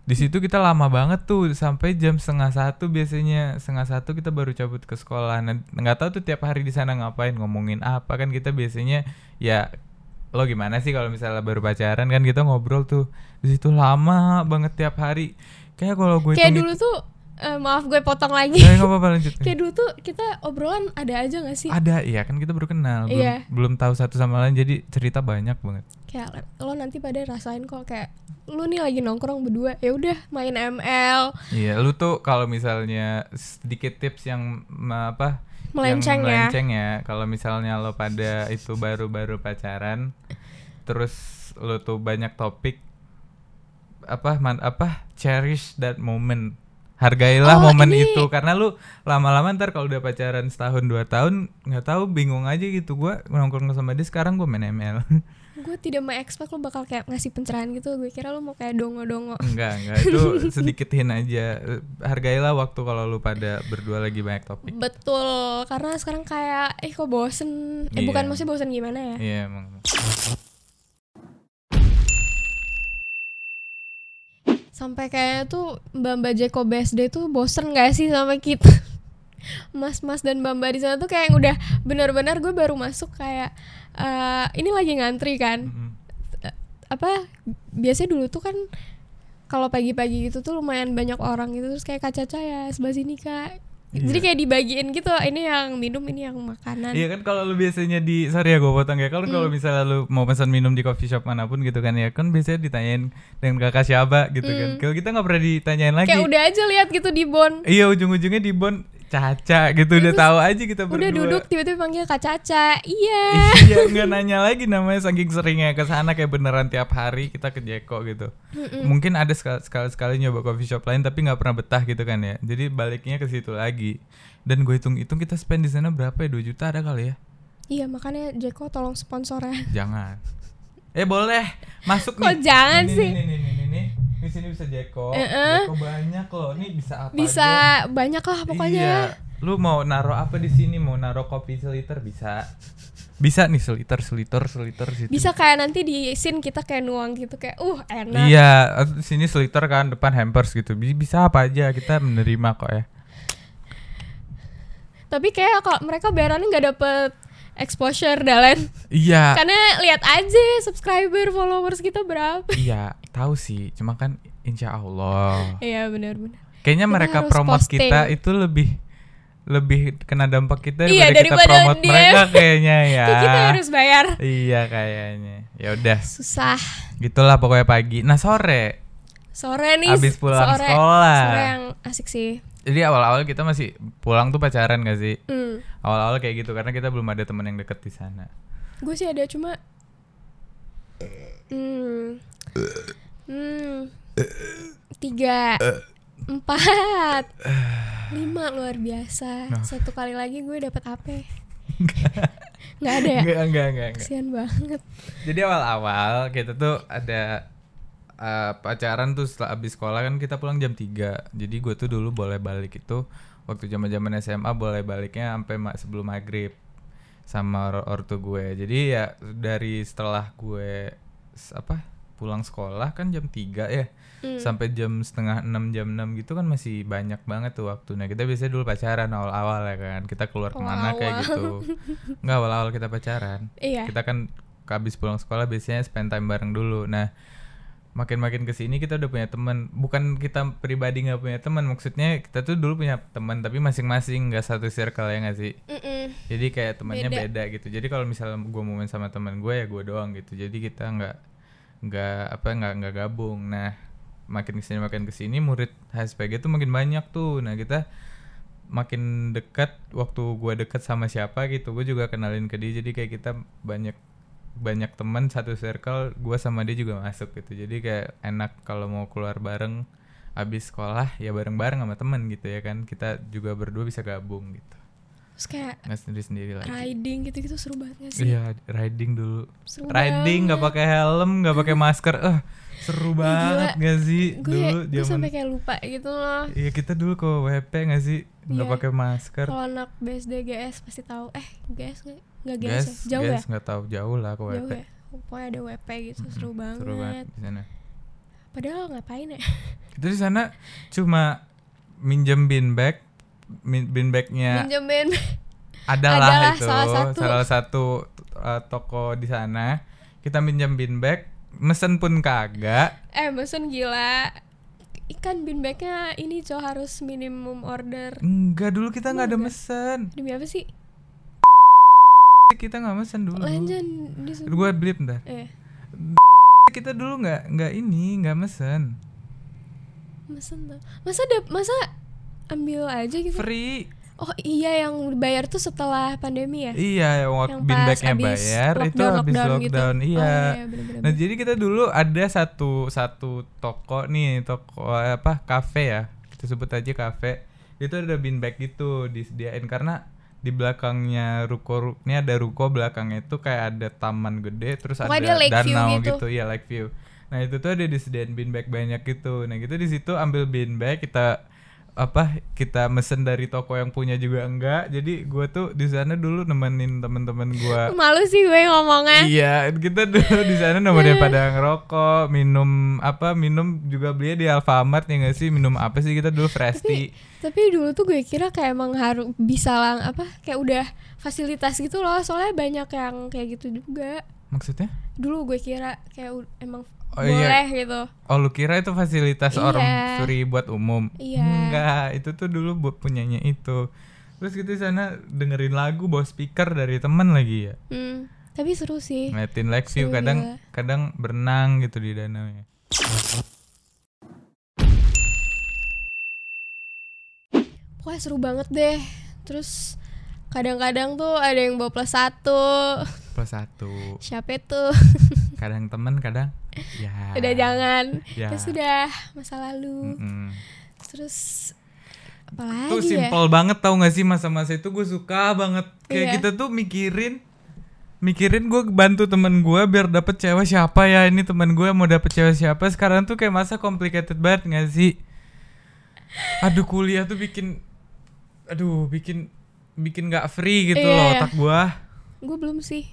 Speaker 2: di situ kita lama banget tuh sampai jam setengah satu biasanya setengah satu kita baru cabut ke sekolah Nah, nggak tahu tuh tiap hari di sana ngapain ngomongin apa kan kita biasanya ya lo gimana sih kalau misalnya baru pacaran kan kita ngobrol tuh di situ lama banget tiap hari kayak kalau gue
Speaker 1: kayak dulu
Speaker 2: hitung- Eh,
Speaker 1: tuh eh, maaf gue potong lagi
Speaker 2: Nggak, nggak apa-apa lanjut.
Speaker 1: kayak dulu tuh kita obrolan ada aja gak sih
Speaker 2: Ada, iya kan kita baru kenal, belum,
Speaker 1: Iya.
Speaker 2: belum tahu satu sama lain jadi cerita banyak banget.
Speaker 1: kayak lo nanti pada rasain kok kayak lu nih lagi nongkrong berdua ya udah main ML
Speaker 2: Iya, lu tuh kalau misalnya sedikit tips yang mm, apa?
Speaker 1: Melenceng ya.
Speaker 2: yang melenceng ya. Kalau misalnya lo pada itu baru-baru pacaran, terus lu tuh banyak topik apa man, apa cherish that moment. Hargailah
Speaker 1: Oh,
Speaker 2: momen
Speaker 1: ini-
Speaker 2: itu karena lu lama-lama ntar kalau udah pacaran setahun dua tahun nggak tahu bingung aja gitu gua nongkrong sama dia sekarang gua main ML.
Speaker 1: gue tidak mengekspek lo bakal kayak ngasih pencerahan gitu gue kira lo mau kayak dongo-dongo
Speaker 2: Enggak, enggak. Itu sedikit hint aja. Eh, Hargailah waktu kalau lu pada berdua lagi banyak topik.
Speaker 1: Iya. betul karena sekarang kayak eh kok bosen eh
Speaker 2: Iya.
Speaker 1: bukan maksudnya bosen gimana ya
Speaker 2: Iya, emang.
Speaker 1: sampai kayaknya tuh mbak mbak Jeko BSD tuh bosen gak sih sama kita mas-mas dan mbak-mbak di sana tuh kayak yang udah benar-benar gue baru masuk kayak eh, ini lagi ngantri kan
Speaker 2: Mm-mm.
Speaker 1: apa biasanya dulu tuh kan kalau pagi-pagi gitu tuh lumayan banyak orang gitu terus kayak kaca ya sebelah sini kak jadi
Speaker 2: Iya.
Speaker 1: kayak dibagiin gitu ini yang minum ini yang makanan
Speaker 2: Iya kan kalau lu biasanya di sorry ya gue potong ya kalau
Speaker 1: Iya.
Speaker 2: kalau misalnya lu mau pesan minum di coffee shop manapun gitu kan ya kan biasanya ditanyain dengan kakak siapa gitu kan kalau kita nggak pernah ditanyain lagi
Speaker 1: Mm. kayak udah aja lihat gitu di bon
Speaker 2: iya ujung-ujungnya di bon caca gitu udah tahu aja kita
Speaker 1: udah
Speaker 2: berdua
Speaker 1: duduk tiba-tiba panggil kak Caca iya
Speaker 2: iya nggak nanya lagi namanya saking seringnya ke sana kayak beneran tiap hari kita ke Jeko gitu mungkin ada sekali sekali nyoba coffee shop lain tapi nggak pernah betah gitu kan ya jadi baliknya ke situ lagi dan gue hitung hitung kita spend di sana berapa ya 2 juta ada kali ya
Speaker 1: iya makanya Jeko tolong sponsor ya
Speaker 2: jangan eh boleh masuk
Speaker 1: Kok
Speaker 2: nih
Speaker 1: jangan
Speaker 2: Nih,
Speaker 1: sih?
Speaker 2: nih nih nih nih nih di sini bisa Jeko
Speaker 1: Eh-eh.
Speaker 2: Jeko banyak loh nih bisa apa
Speaker 1: bisa
Speaker 2: aja.
Speaker 1: banyak lah pokoknya
Speaker 2: Iya. Lu mau naruh apa di sini? Mau naruh kopi seliter bisa. Bisa nih seliter, seliter, seliter situ.
Speaker 1: bisa kayak nanti di scene kita kayak nuang gitu kayak uh enak
Speaker 2: Iya, di sini seliter kan depan hampers gitu. Bi- Bisa apa aja kita menerima kok ya.
Speaker 1: tapi kayak kalau mereka bayarannya nggak dapet exposure dan lain
Speaker 2: Iya.
Speaker 1: karena lihat aja subscriber followers kita berapa
Speaker 2: Iya, tahu sih. Cuma kan insya Allah.
Speaker 1: iya benar-benar
Speaker 2: Kayaknya
Speaker 1: Kita
Speaker 2: mereka
Speaker 1: harus
Speaker 2: promote
Speaker 1: posting.
Speaker 2: kita itu lebih lebih kena dampak kita daripada,
Speaker 1: Iya,
Speaker 2: kita
Speaker 1: daripada
Speaker 2: promote
Speaker 1: dia.
Speaker 2: mereka kayaknya ya.
Speaker 1: Kayak kita harus bayar
Speaker 2: Iya kayaknya. Ya udah,
Speaker 1: susah
Speaker 2: gitulah pokoknya pagi. Nah, sore
Speaker 1: sore nih
Speaker 2: Abis pulang
Speaker 1: sore
Speaker 2: sekolah.
Speaker 1: sore yang asik sih
Speaker 2: Jadi awal-awal kita masih pulang tuh pacaran gak sih?
Speaker 1: hmm.
Speaker 2: Awal-awal kayak gitu karena kita belum ada teman yang deket di sana.
Speaker 1: gue sih ada cuma hmm, hmm, tiga empat lima luar biasa
Speaker 2: Nah.
Speaker 1: satu kali lagi gue dapat apa nggak ada ya
Speaker 2: Enggak, enggak, enggak, enggak.
Speaker 1: kesian banget
Speaker 2: Jadi awal-awal kita tuh ada eh, pacaran tuh setelah abis sekolah kan kita pulang jam 3. Jadi gue tuh dulu boleh balik itu waktu zaman-zaman SMA boleh baliknya sampai ma- sebelum maghrib sama or- ortu gue. Jadi ya dari setelah gue s- apa pulang sekolah kan jam 3 ya sampai jam setengah 6 jam 6 gitu kan masih banyak banget tuh waktunya kita biasanya dulu pacaran awal-awal ya kan kita keluar kemana kayak gitu nggak awal-awal kita pacaran
Speaker 1: iya
Speaker 2: kita kan habis pulang sekolah biasanya spend time bareng dulu nah makin-makin kesini kita udah punya teman bukan kita pribadi nggak punya teman maksudnya kita tuh dulu punya teman tapi masing-masing nggak satu circle ya nggak sih
Speaker 1: Mm-mm.
Speaker 2: jadi kayak temannya
Speaker 1: Beda.
Speaker 2: beda. gitu jadi kalau misalnya gue mau main sama teman gue ya gue doang gitu jadi kita nggak nggak apa nggak nggak gabung nah makin kesini makin kesini murid HSPG tuh makin banyak tuh nah kita makin dekat waktu gue dekat sama siapa gitu gue juga kenalin ke dia jadi kayak kita banyak banyak teman satu circle gue sama dia juga masuk gitu jadi kayak enak kalau mau keluar bareng abis sekolah ya bareng-bareng sama teman gitu ya kan kita juga berdua bisa gabung gitu
Speaker 1: terus kayak
Speaker 2: nggak sendiri sendiri lagi
Speaker 1: riding gitu-gitu seru banget gak sih
Speaker 2: Iya, riding dulu.
Speaker 1: Seru
Speaker 2: riding nggak pakai helm, nggak pakai masker. Eh, seru banget gak sih dulu
Speaker 1: gue gue
Speaker 2: zaman
Speaker 1: sampai kayak lupa gitu loh
Speaker 2: Iya, kita dulu ke WP gak sih? nggak
Speaker 1: Iya.
Speaker 2: pakai masker.
Speaker 1: kalau anak BSD GS pasti tahu eh GS nggak nggak GS,
Speaker 2: Guys,
Speaker 1: ya? jauh ya
Speaker 2: guys nggak tahu jauh lah ke
Speaker 1: jauh
Speaker 2: WP.
Speaker 1: ya pokoknya ada WP gitu seru banget,
Speaker 2: Seru banget di sana.
Speaker 1: padahal ngapain ya
Speaker 2: Itu di sana cuma minjem bin bag, min- bin bagnya
Speaker 1: minjemin Adalah
Speaker 2: adalah, itu
Speaker 1: salah satu.
Speaker 2: salah satu, uh, toko di sana. Kita minjem bin bag, mesen pun kagak.
Speaker 1: eh mesen gila ikan bin bagnya ini cow harus minimum order
Speaker 2: Enggak dulu kita nggak ada mesen.
Speaker 1: demi apa sih
Speaker 2: kita nggak mesen dulu.
Speaker 1: lanjut disuruh
Speaker 2: Gue blip ntar.
Speaker 1: eh
Speaker 2: Kita dulu nggak nggak ini nggak mesen.
Speaker 1: mesen tuh masa dap masa ambil aja gitu
Speaker 2: Free.
Speaker 1: oh iya yang bayar tuh setelah pandemi ya
Speaker 2: Iya, yang
Speaker 1: yang
Speaker 2: waktu binbagnya bayar itu habis lockdown.
Speaker 1: gitu.
Speaker 2: Iya.
Speaker 1: Oh, iya bener-bener.
Speaker 2: Nah jadi kita dulu ada satu satu toko nih toko eh, apa kafe ya kita sebut aja kafe itu ada bin bag gitu disediain karena di belakangnya ruko ru- ini ada ruko belakangnya itu kayak ada taman gede terus
Speaker 1: Pokoknya
Speaker 2: ada
Speaker 1: dia lake view
Speaker 2: danau
Speaker 1: gitu.
Speaker 2: gitu. ya like view gitu nah itu tuh ada disediain bin bag banyak gitu nah kita di situ ambil bin bag kita apa kita mesen dari toko yang punya juga enggak jadi gue tuh di sana dulu nemenin temen-temen gue
Speaker 1: Malu sih gue ngomongnya.
Speaker 2: iya kita dulu di sana nemenin pada ngerokok minum apa minum juga belinya di Alfamart ya nggak sih minum apa sih kita dulu Fresti
Speaker 1: Tapi dulu tuh gue kira kayak emang harus bisa lang apa kayak udah fasilitas gitu loh. Soalnya banyak yang kayak gitu juga.
Speaker 2: maksudnya
Speaker 1: Dulu gue kira kayak u- emang
Speaker 2: Oh, iya.
Speaker 1: boleh gitu.
Speaker 2: oh lu kira itu fasilitas
Speaker 1: Iya.
Speaker 2: orang free buat umum
Speaker 1: Iya.
Speaker 2: enggak itu tuh dulu buat punyanya itu terus kita di sana dengerin lagu bawa speaker dari temen lagi ya
Speaker 1: Hmm. Tapi seru sih.
Speaker 2: ngeliatin live view
Speaker 1: Seru
Speaker 2: kadang
Speaker 1: juga.
Speaker 2: kadang berenang gitu di danau ya
Speaker 1: Pokoknya seru banget deh. Terus kadang-kadang tuh ada yang bawa plus satu.
Speaker 2: plus satu
Speaker 1: Siapa tuh?
Speaker 2: kadang temen kadang ya
Speaker 1: Udah jangan.
Speaker 2: Ya.
Speaker 1: Ya sudah, masa lalu.
Speaker 2: Mm-mm.
Speaker 1: Terus apalagi
Speaker 2: tuh
Speaker 1: ya?
Speaker 2: simple banget tau gak sih masa-masa itu gue suka banget kayak
Speaker 1: Iya.
Speaker 2: kita tuh mikirin mikirin gue bantu temen gue biar dapet cewek siapa ya ini temen gue mau dapet cewek siapa sekarang tuh kayak masa complicated banget gak sih aduh kuliah tuh bikin aduh bikin bikin gak free
Speaker 1: Iya,
Speaker 2: gitu loh
Speaker 1: iya.
Speaker 2: otak gue
Speaker 1: Gue belum sih.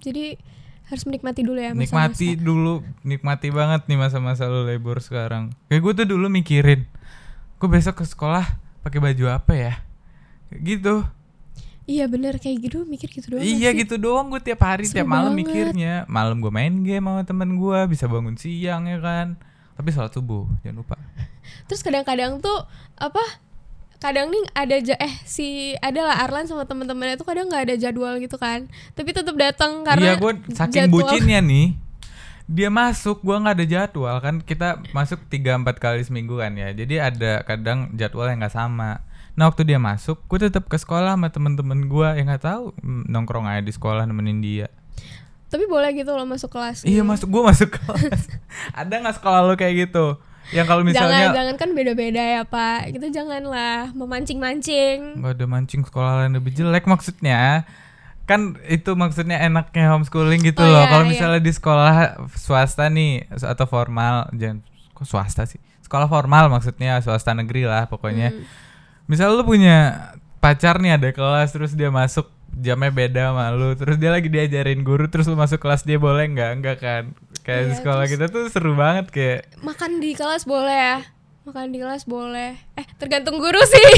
Speaker 1: Jadi harus menikmati dulu ya masa-masa.
Speaker 2: nikmati dulu nikmati banget nih masa-masa lu labor sekarang kayak gue tuh dulu mikirin gue besok ke sekolah pakai baju apa ya Kayak gitu
Speaker 1: Iya bener kayak gitu mikir gitu doang.
Speaker 2: iya
Speaker 1: gak sih?
Speaker 2: gitu doang gue tiap hari
Speaker 1: Seru
Speaker 2: tiap malam
Speaker 1: banget.
Speaker 2: mikirnya malam gue main game sama temen gue bisa bangun siang ya kan tapi sholat subuh jangan lupa
Speaker 1: Terus kadang-kadang tuh apa? Kadang nih ada ja- eh si ada lah Arlan sama teman-temannya tuh kadang nggak ada jadwal gitu kan. Tapi tetap datang
Speaker 2: iya
Speaker 1: karena
Speaker 2: gue saking
Speaker 1: jadwal.
Speaker 2: bucinnya nih dia masuk gua nggak ada jadwal kan kita masuk 3 4 kali seminggu kan ya jadi ada kadang jadwal yang nggak sama nah waktu dia masuk gue tetap ke sekolah sama temen-temen gua yang nggak tahu mm, nongkrong aja di sekolah nemenin dia
Speaker 1: Tapi boleh gitu loh masuk kelas.
Speaker 2: iya
Speaker 1: gitu.
Speaker 2: masuk gua masuk kelas ada nggak sekolah lo kayak gitu yang kalau
Speaker 1: Jangan
Speaker 2: misalnya
Speaker 1: jangan kan beda-beda ya, Pak. Kita janganlah memancing-mancing.
Speaker 2: nggak ada mancing sekolah lain lebih jelek maksudnya kan itu maksudnya enaknya homeschooling gitu
Speaker 1: Oh,
Speaker 2: loh
Speaker 1: iya,
Speaker 2: kalau
Speaker 1: iya.
Speaker 2: misalnya di sekolah swasta nih atau formal jangan kok swasta sih sekolah formal maksudnya swasta negeri lah pokoknya
Speaker 1: Hmm.
Speaker 2: misal lu punya pacar nih ada kelas terus dia masuk jamnya beda sama lu terus dia lagi diajarin guru terus lu masuk kelas dia boleh nggak enggak kan kayak di
Speaker 1: Iya,
Speaker 2: sekolah
Speaker 1: terus-
Speaker 2: kita tuh seru banget kayak
Speaker 1: Makan di kelas boleh ya? Makan di kelas boleh. Eh, tergantung guru sih.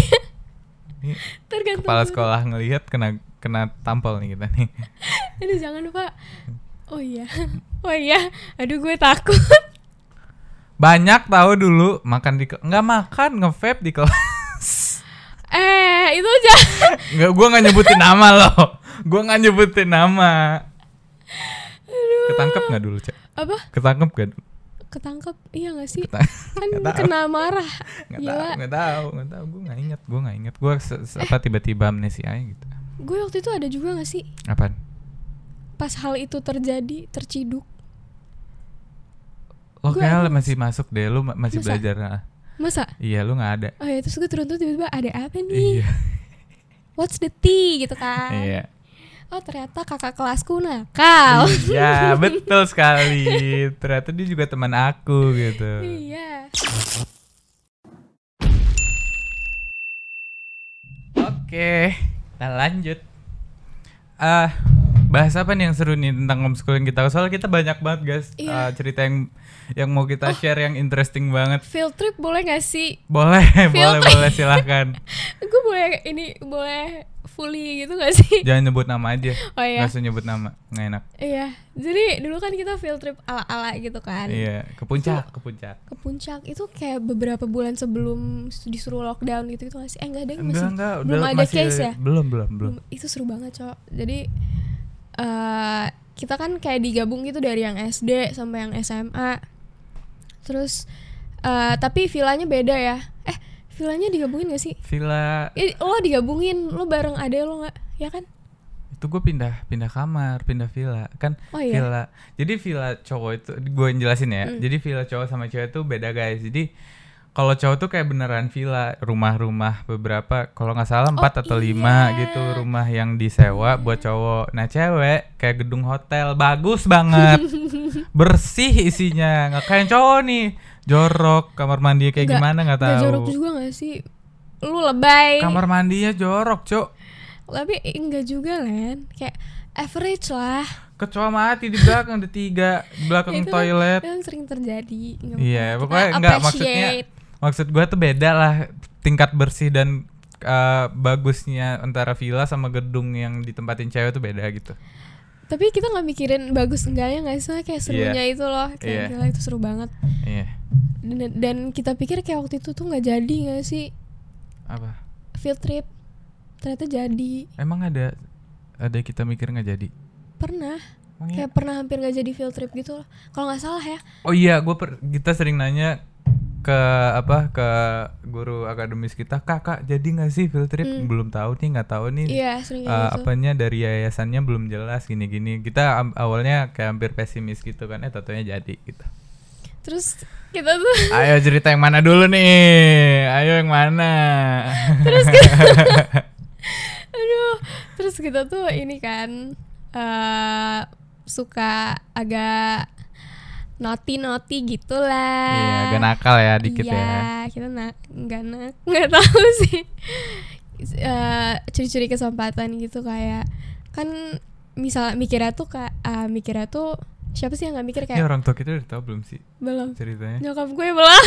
Speaker 2: ini
Speaker 1: tergantung
Speaker 2: kepala
Speaker 1: guru.
Speaker 2: sekolah ngelihat kena kena tampol nih kita nih
Speaker 1: Aduh, jangan, Pak. Oh iya. Oh iya. Aduh, gue takut.
Speaker 2: Banyak tahu dulu makan di ke- nggak makan nge-vape di kelas.
Speaker 1: Eh, itu jangan.
Speaker 2: Nggak, gua nggak nyebutin nama loh. Gua nggak nyebutin nama. Ketangkep nggak dulu cek?
Speaker 1: Apa?
Speaker 2: Ketangkep nggak dulu?
Speaker 1: Ketangkep? Iya gak sih?
Speaker 2: Ketang-
Speaker 1: Kan
Speaker 2: Nggak tahu.
Speaker 1: kena marah.
Speaker 2: Nggak tahu,
Speaker 1: Gila.
Speaker 2: nggak tahu, nggak tahu. Gue nggak inget, gue nggak inget. Gue se- se- apa tiba-tiba amnesia aja gitu.
Speaker 1: Gue waktu itu ada juga gak sih?
Speaker 2: Apaan?
Speaker 1: Pas hal itu terjadi, terciduk.
Speaker 2: Lo
Speaker 1: Gua ada
Speaker 2: kayak masih masuk deh, lo ma- masih
Speaker 1: Masa?
Speaker 2: belajar. ah.
Speaker 1: Masa?
Speaker 2: Iya, lo nggak ada.
Speaker 1: Oh ya, terus gue turun tuh tiba-tiba ada apa nih?
Speaker 2: Iya,
Speaker 1: What's the tea gitu kan?
Speaker 2: iya.
Speaker 1: Oh ternyata kakak kelasku nakal.
Speaker 2: Iya, betul sekali. Ternyata dia juga teman aku gitu.
Speaker 1: Iya.
Speaker 2: Oke, kita lanjut. Ah, bahas apa nih yang seru nih tentang homeschooling kita? Soalnya kita banyak banget guys
Speaker 1: Iya. Oh.
Speaker 2: ah, cerita yang yang mau kita share yang interesting banget.
Speaker 1: Field trip boleh gak sih?
Speaker 2: Boleh, boleh,
Speaker 1: Filter.
Speaker 2: boleh silahkan.
Speaker 1: Gue boleh ini boleh fully gitu gak sih?
Speaker 2: Jangan nyebut nama aja.
Speaker 1: Oh iya.
Speaker 2: Nggak usah nyebut nama, nggak enak.
Speaker 1: Iya. Jadi dulu kan kita field trip ala-ala gitu kan.
Speaker 2: Iya, ke puncak, ke puncak.
Speaker 1: Ke puncak itu kayak beberapa bulan sebelum disuruh lockdown gitu gitu gak sih? Eh enggak deh masih
Speaker 2: Enggak, enggak, udah
Speaker 1: belum ada
Speaker 2: masih-
Speaker 1: case ya.
Speaker 2: Belum, belum, belum.
Speaker 1: Itu seru banget, Cok. Jadi eh kita kan kayak digabung gitu dari yang SD sampai yang SMA. Terus eh tapi villanya beda ya. Eh, villanya digabungin gak sih?
Speaker 2: Villa
Speaker 1: Eh, lo digabungin, lo bareng ade lo nggak? Ya kan?
Speaker 2: itu gue pindah pindah kamar pindah villa kan
Speaker 1: Oh, iya. Hmm.
Speaker 2: villa jadi villa cowok itu gue yang jelasin ya jadi villa cowok sama cewek itu beda guys jadi kalau cowok tuh kayak beneran villa rumah-rumah beberapa kalau nggak salah empat atau lima
Speaker 1: iya.
Speaker 2: gitu rumah yang disewa buat cowok nah cewek kayak gedung hotel bagus banget bersih isinya nggak kayak cowok nih jorok kamar mandi
Speaker 1: Nggak-
Speaker 2: kayak gimana nggak
Speaker 1: Gak
Speaker 2: tahu
Speaker 1: jorok juga gak sih? Lu lebay.
Speaker 2: kamar mandinya jorok cok
Speaker 1: Tapi enggak juga, Len. Kayak average lah.
Speaker 2: kecoa mati di belakang ada tiga di belakang
Speaker 1: Itu kan
Speaker 2: toilet
Speaker 1: yang sering terjadi. Nggak
Speaker 2: Iya,
Speaker 1: apa-apa,
Speaker 2: pokoknya
Speaker 1: kita
Speaker 2: nggak, maksudnya
Speaker 1: appreciate.
Speaker 2: maksud gua tuh beda lah tingkat bersih dan eh, bagusnya antara villa sama gedung yang ditempatin cewek tuh beda gitu
Speaker 1: Tapi kita nggak mikirin bagus enggaknya nggak sih? Kayak serunya itu loh. Kayak
Speaker 2: Iya.
Speaker 1: gila itu seru banget.
Speaker 2: iya
Speaker 1: Dan, dan kita pikir kayak waktu itu tuh nggak jadi nggak sih
Speaker 2: apa
Speaker 1: field trip? Ternyata jadi.
Speaker 2: emang ada ada yang kita mikir nggak jadi
Speaker 1: Pernah.
Speaker 2: Emang iya?
Speaker 1: Kayak pernah hampir nggak jadi field trip gitu loh. Kalau nggak salah ya.
Speaker 2: oh iya gua per- kita sering nanya ke apa ke guru akademis kita kakak jadi nggak sih field trip
Speaker 1: Hmm.
Speaker 2: belum tahu nih nggak tahu nih
Speaker 1: Iya, sering kayak
Speaker 2: Eh,
Speaker 1: gitu.
Speaker 2: apanya dari yayasannya belum jelas gini-gini kita am- awalnya kayak hampir pesimis gitu kan eh tentunya jadi gitu
Speaker 1: Terus kita tuh
Speaker 2: ayo cerita yang mana dulu nih ayo yang mana
Speaker 1: Iya, aduh terus kita tuh ini kan eh suka agak naughty naughty gitulah
Speaker 2: iya agak nakal ya dikit ya
Speaker 1: Iya, kita na- nggak na- nggak tahu sih Eh, curi-curi kesempatan gitu kayak kan misal mikirnya tuh kak eh, mikirnya tuh siapa sih yang nggak mikir
Speaker 2: ini
Speaker 1: kayak
Speaker 2: orang tua kita udah tahu belum sih
Speaker 1: belum
Speaker 2: ceritanya
Speaker 1: nyokap gue belum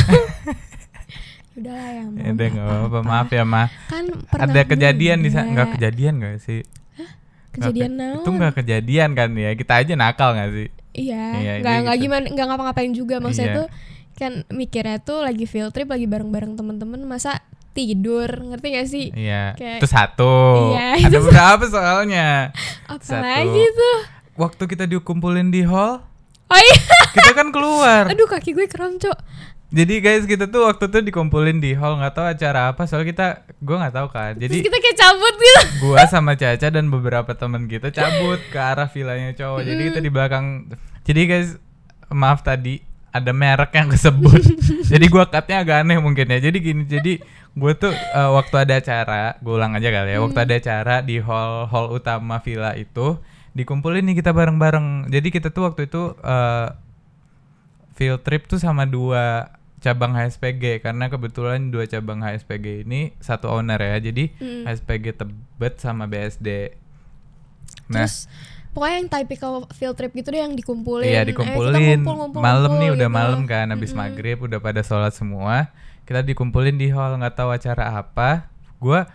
Speaker 1: udah lah yang
Speaker 2: ya udah nggak apa-apa maaf ya ma
Speaker 1: kan pernah
Speaker 2: ada kejadian di sana
Speaker 1: juga.
Speaker 2: nggak kejadian nggak sih Nggak
Speaker 1: kejadian
Speaker 2: ke-
Speaker 1: naon
Speaker 2: itu nggak kejadian kan ya kita aja nakal nggak sih
Speaker 1: Iya,
Speaker 2: Iya,
Speaker 1: nggak
Speaker 2: dia
Speaker 1: nggak
Speaker 2: gitu.
Speaker 1: gimana nggak ngapa-ngapain juga maksudnya
Speaker 2: Iya.
Speaker 1: tuh kan mikirnya tuh lagi field trip lagi bareng-bareng temen-temen masa tidur ngerti gak sih
Speaker 2: iya
Speaker 1: Kayak-
Speaker 2: itu satu
Speaker 1: Iya,
Speaker 2: ada
Speaker 1: itu
Speaker 2: berapa soalnya Satu.
Speaker 1: apalagi tuh
Speaker 2: waktu kita dikumpulin di hall
Speaker 1: oh iya
Speaker 2: kita kan keluar
Speaker 1: aduh kaki gue kram cok
Speaker 2: Jadi guys kita tuh waktu itu dikumpulin di hall nggak tahu acara apa soalnya kita gua nggak tahu kan.
Speaker 1: terus
Speaker 2: Jadi
Speaker 1: kita kayak cabut gitu
Speaker 2: gua sama Caca dan beberapa teman kita cabut ke arah vilanya cowok. Jadi kita di belakang. Jadi guys maaf tadi ada merek yang kesebut. jadi gua cutnya agak aneh mungkin ya. Jadi gini jadi gua tuh eh, waktu ada acara gua ulang aja kali ya. Waktu ada acara di hall hall utama villa itu dikumpulin nih kita bareng-bareng. Jadi kita tuh waktu itu eh, field trip tuh sama dua cabang HSPG karena kebetulan dua cabang HSPG ini satu owner ya jadi
Speaker 1: Hmm.
Speaker 2: HSPG Tebet sama BSD nah
Speaker 1: terus pokoknya yang typical field trip gitu deh yang dikumpulin
Speaker 2: iya
Speaker 1: Ayo kita
Speaker 2: dikumpulin
Speaker 1: ngumpul, ngumpul,
Speaker 2: malam
Speaker 1: ngumpul
Speaker 2: nih udah
Speaker 1: gitu.
Speaker 2: malam kan habis maghrib udah pada sholat semua kita dikumpulin di hall nggak tahu acara apa gua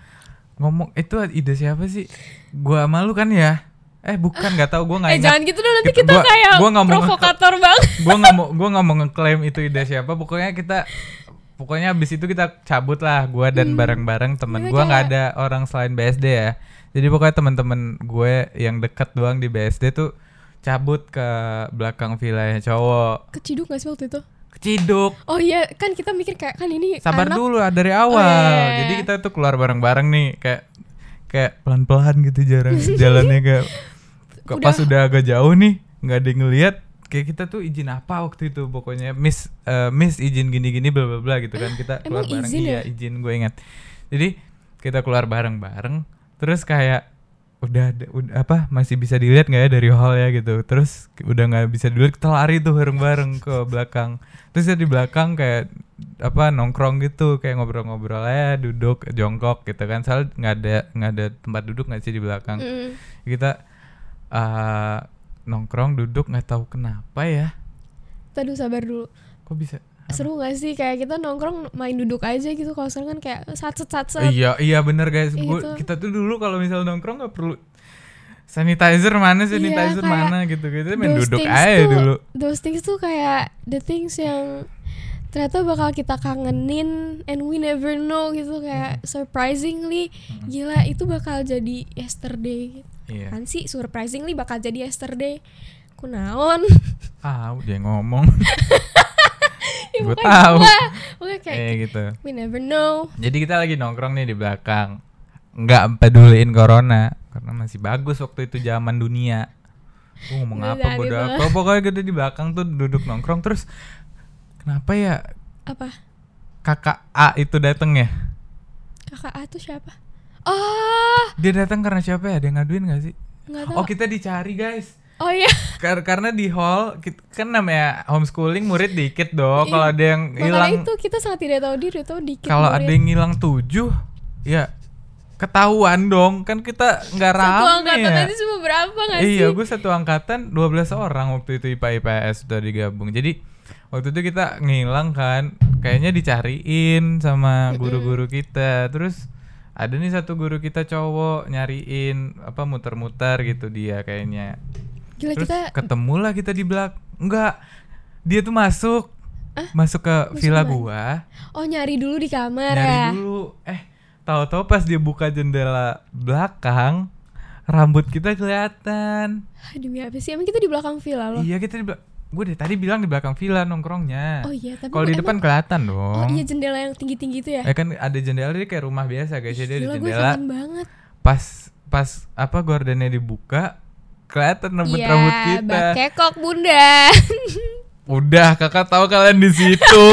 Speaker 2: ngomong itu ide siapa sih gua malu kan ya eh bukan nggak tahu gua nggak
Speaker 1: eh
Speaker 2: ingat
Speaker 1: jangan gitu dong nanti
Speaker 2: Gitu,
Speaker 1: kita
Speaker 2: gua-
Speaker 1: kayak
Speaker 2: gua nggak mau nge-
Speaker 1: provokator banget
Speaker 2: gue nggak mau gue nggak mau ngeklaim itu ide siapa pokoknya kita pokoknya abis itu kita cabut lah gue dan bareng-bareng temen
Speaker 1: Iya,
Speaker 2: gue nggak
Speaker 1: kayak-
Speaker 2: ada orang selain BSD ya jadi pokoknya temen-temen gue yang deket doang di BSD tuh cabut ke belakang villanya cowok
Speaker 1: keciduk gak sih waktu itu
Speaker 2: keciduk
Speaker 1: oh iya kan kita mikir kayak kan ini
Speaker 2: sabar
Speaker 1: anak
Speaker 2: dulu ah, dari
Speaker 1: Oh,
Speaker 2: awal
Speaker 1: iya,
Speaker 2: jadi kita tuh keluar bareng-bareng nih kayak kayak pelan-pelan gitu jarang jalannya kayak Kok pas udah agak jauh nih nggak ada yang ngelihat kayak kita tuh izin apa waktu itu pokoknya miss eh, miss izin gini-gini bla bla bla gitu kan kita keluar
Speaker 1: emang
Speaker 2: bareng
Speaker 1: izin ya?
Speaker 2: iya izin gue ingat jadi kita keluar bareng-bareng terus kayak udah ada- udah apa masih bisa dilihat nggak ya dari hall ya gitu terus udah nggak bisa dilihat kita lari tuh bareng-bareng ke belakang terus ya di belakang kayak apa nongkrong gitu kayak ngobrol-ngobrol ya duduk jongkok gitu kan soalnya nggak ada nggak ada tempat duduk nggak sih di belakang
Speaker 1: Mm.
Speaker 2: kita eh, nongkrong duduk nggak tahu kenapa ya
Speaker 1: Tadi sabar dulu
Speaker 2: kok bisa
Speaker 1: seru gak sih kayak kita nongkrong main duduk aja gitu kalau sekarang kan kayak satset satset
Speaker 2: iya iya bener guys Gua-
Speaker 1: Gitu.
Speaker 2: kita tuh dulu kalau misal nongkrong nggak perlu sanitizer mana sanitizer
Speaker 1: Iya, kayak
Speaker 2: mana gitu gitu main
Speaker 1: Those
Speaker 2: duduk
Speaker 1: things
Speaker 2: aja
Speaker 1: tuh-
Speaker 2: dulu
Speaker 1: those things tuh kayak the things yang ternyata bakal kita kangenin and we never know gitu kayak
Speaker 2: Mm-hmm.
Speaker 1: surprisingly gila itu bakal jadi yesterday
Speaker 2: iya
Speaker 1: kan sih surprisingly bakal jadi yesterday ku naon
Speaker 2: ah dia ngomong
Speaker 1: Ya,
Speaker 2: Gua
Speaker 1: pokoknya
Speaker 2: tahu.
Speaker 1: gua- pokoknya kayak
Speaker 2: kayak gitu
Speaker 1: we never know
Speaker 2: jadi kita lagi nongkrong nih di belakang nggak peduliin corona karena masih bagus waktu itu zaman dunia gue ngomong
Speaker 1: Udah
Speaker 2: apa
Speaker 1: dari
Speaker 2: bodo
Speaker 1: bawah.
Speaker 2: apa pokoknya gitu di belakang tuh duduk nongkrong terus kenapa ya
Speaker 1: apa
Speaker 2: kakak A itu dateng ya
Speaker 1: kakak A tuh siapa oh
Speaker 2: dia datang karena siapa ya ada yang ngaduin gak sih
Speaker 1: nggak tahu
Speaker 2: oh kita dicari guys
Speaker 1: oh iya
Speaker 2: Kar- karena di hall kit- kan namanya homeschooling murid dikit dong. Kalau ada yang
Speaker 1: makanya
Speaker 2: hilang
Speaker 1: itu kita sangat tidak tahu diri tahu dikit
Speaker 2: kalau
Speaker 1: murid.
Speaker 2: ada yang hilang tujuh ya ketahuan dong kan kita nggak
Speaker 1: satu
Speaker 2: rame
Speaker 1: angkatan
Speaker 2: ya.
Speaker 1: aja cuma berapa nggak sih
Speaker 2: Iya, gue satu angkatan 12 orang waktu itu IPA IPS udah digabung. Jadi waktu itu kita ngilang kan, kayaknya dicariin sama guru-guru kita. Terus ada nih satu guru kita cowok nyariin apa muter-muter gitu dia kayaknya.
Speaker 1: gila
Speaker 2: Terus
Speaker 1: kita
Speaker 2: ketemulah kita di belak. Enggak. Dia tuh masuk. Masuk ke villa gua,
Speaker 1: oh nyari dulu di kamar
Speaker 2: nyari
Speaker 1: ya
Speaker 2: dulu. Eh, tahu-tahu pas dia buka jendela belakang, rambut kita kelihatan.
Speaker 1: Hah, demi apa sih emang kita di belakang villa loh
Speaker 2: Iya kita di gue dari tadi bilang di belakang villa nongkrongnya.
Speaker 1: Oh iya, tapi
Speaker 2: Kalau di
Speaker 1: emang-
Speaker 2: depan kelihatan dong.
Speaker 1: oh iya jendela yang tinggi tinggi itu ya
Speaker 2: Eh kan ada jendela jadi kayak rumah biasa guys. Jadi ada
Speaker 1: gila gue
Speaker 2: jendela
Speaker 1: kangen banget
Speaker 2: pas pas apa gordennya dibuka kelihatan
Speaker 1: Iya,
Speaker 2: rambut-rambut kita.
Speaker 1: bakekok bunda
Speaker 2: Udah kakak tahu kalian di situ.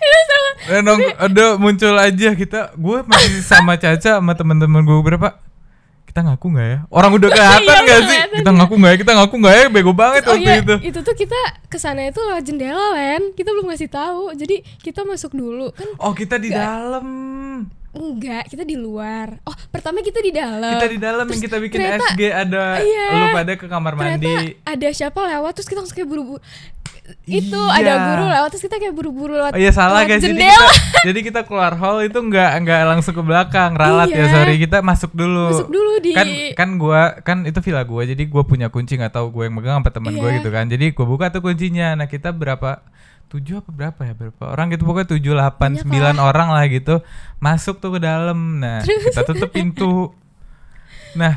Speaker 1: Iya,
Speaker 2: Eh, nong- Udah muncul aja kita. Gue masih sama Caca sama teman-teman gue berapa? Kita ngaku nggak ya? Orang udah kelihatan
Speaker 1: Iya, udah
Speaker 2: nggak sih?
Speaker 1: kelihatan.
Speaker 2: Kita ngaku nggak ya? Kita ngaku nggak ya? Bego banget
Speaker 1: Oh
Speaker 2: waktu
Speaker 1: iya,
Speaker 2: itu.
Speaker 1: itu tuh kita kesana itu lewat jendela, Len. Kita belum ngasih tahu. Jadi kita masuk dulu. Kan
Speaker 2: Oh kita di dalam.
Speaker 1: enggak, kita di luar. Oh, pertama kita di dalam.
Speaker 2: Kita di dalam yang kita bikin
Speaker 1: ternyata-
Speaker 2: SG ada
Speaker 1: Iya.
Speaker 2: lu pada ke kamar mandi.
Speaker 1: Ternyata ada siapa lewat terus kita langsung kayak buru-buru. Itu
Speaker 2: Iya.
Speaker 1: ada guru lewat terus kita kayak buru-buru lewat.
Speaker 2: Oh iya salah
Speaker 1: lewat
Speaker 2: guys. Jadi
Speaker 1: Jendela.
Speaker 2: kita, jadi kita keluar hall itu nggak nggak langsung ke belakang ralat ya
Speaker 1: Iya.
Speaker 2: sorry kita masuk dulu.
Speaker 1: Masuk dulu di-
Speaker 2: kan kan gua kan itu villa gua jadi gua punya kunci nggak tahu gue yang megang apa teman gua
Speaker 1: Iya.
Speaker 2: gitu kan. Jadi gua buka tuh kuncinya. Nah kita berapa tujuh apa berapa ya berapa orang gitu pokoknya tujuh delapan
Speaker 1: Banyak
Speaker 2: sembilan orang lah gitu masuk tuh ke dalam. Nah kita tutup pintu. Nah,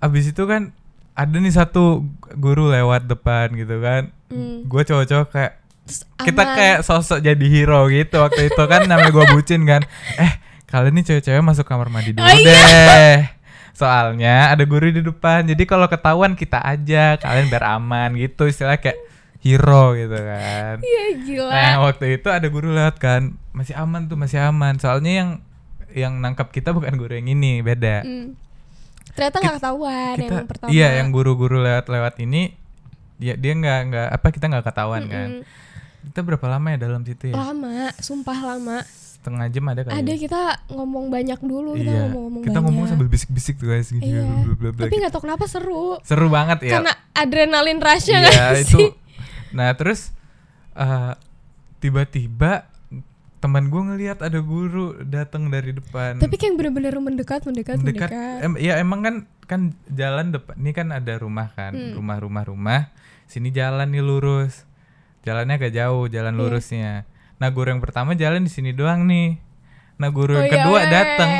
Speaker 2: abis itu kan ada nih satu guru lewat depan gitu kan.
Speaker 1: Hmm.
Speaker 2: Gue cowok-cowok kayak
Speaker 1: Terus
Speaker 2: kita
Speaker 1: aman.
Speaker 2: kayak sosok jadi hero gitu waktu itu kan namanya gue bucin kan. Eh, kalian nih cewek-cewek masuk kamar mandi dulu
Speaker 1: Oh,
Speaker 2: deh. Soalnya ada guru di depan. Jadi kalau ketahuan kita aja, kalian biar aman gitu. Istilahnya kayak hero gitu kan.
Speaker 1: Iya gila.
Speaker 2: Nah waktu itu ada guru lewat kan masih aman tuh masih aman soalnya yang yang nangkap kita bukan guru yang ini beda
Speaker 1: Hmm. Ternyata nggak ketahuan
Speaker 2: kita
Speaker 1: yang pertama.
Speaker 2: iya yang guru-guru lewat-lewat ini dia dia nggak nggak apa kita nggak ketahuan kan kita berapa lama ya dalam situ ya
Speaker 1: lama, sumpah lama.
Speaker 2: setengah jam ada kali
Speaker 1: Ada
Speaker 2: ya?
Speaker 1: kita ngomong banyak dulu, kita
Speaker 2: iya
Speaker 1: ngomong-ngomong
Speaker 2: kita
Speaker 1: banyak.
Speaker 2: ngomong sambil bisik-bisik tuh guys gitu gini
Speaker 1: Iya.
Speaker 2: bla bla bla
Speaker 1: Tapi nggak tahu kenapa seru.
Speaker 2: gitu. seru banget ya
Speaker 1: Karena adrenalin rushnya nggak
Speaker 2: Iya
Speaker 1: sih?
Speaker 2: itu. Nah terus eh, tiba-tiba teman gue ngelihat ada guru datang dari depan.
Speaker 1: Tapi kayak yang bener-bener mendekat, mendekat, mendekat.
Speaker 2: mendekat. Em- ya emang kan kan jalan depan. Ini kan ada rumah kan,
Speaker 1: Hmm.
Speaker 2: rumah rumah rumah. Sini jalan nih lurus. Jalannya agak jauh,
Speaker 1: Iya.
Speaker 2: jalan lurusnya. Nah guru yang pertama jalan di sini doang nih. Nah guru
Speaker 1: Oh,
Speaker 2: yang
Speaker 1: iya,
Speaker 2: kedua
Speaker 1: weh.
Speaker 2: datang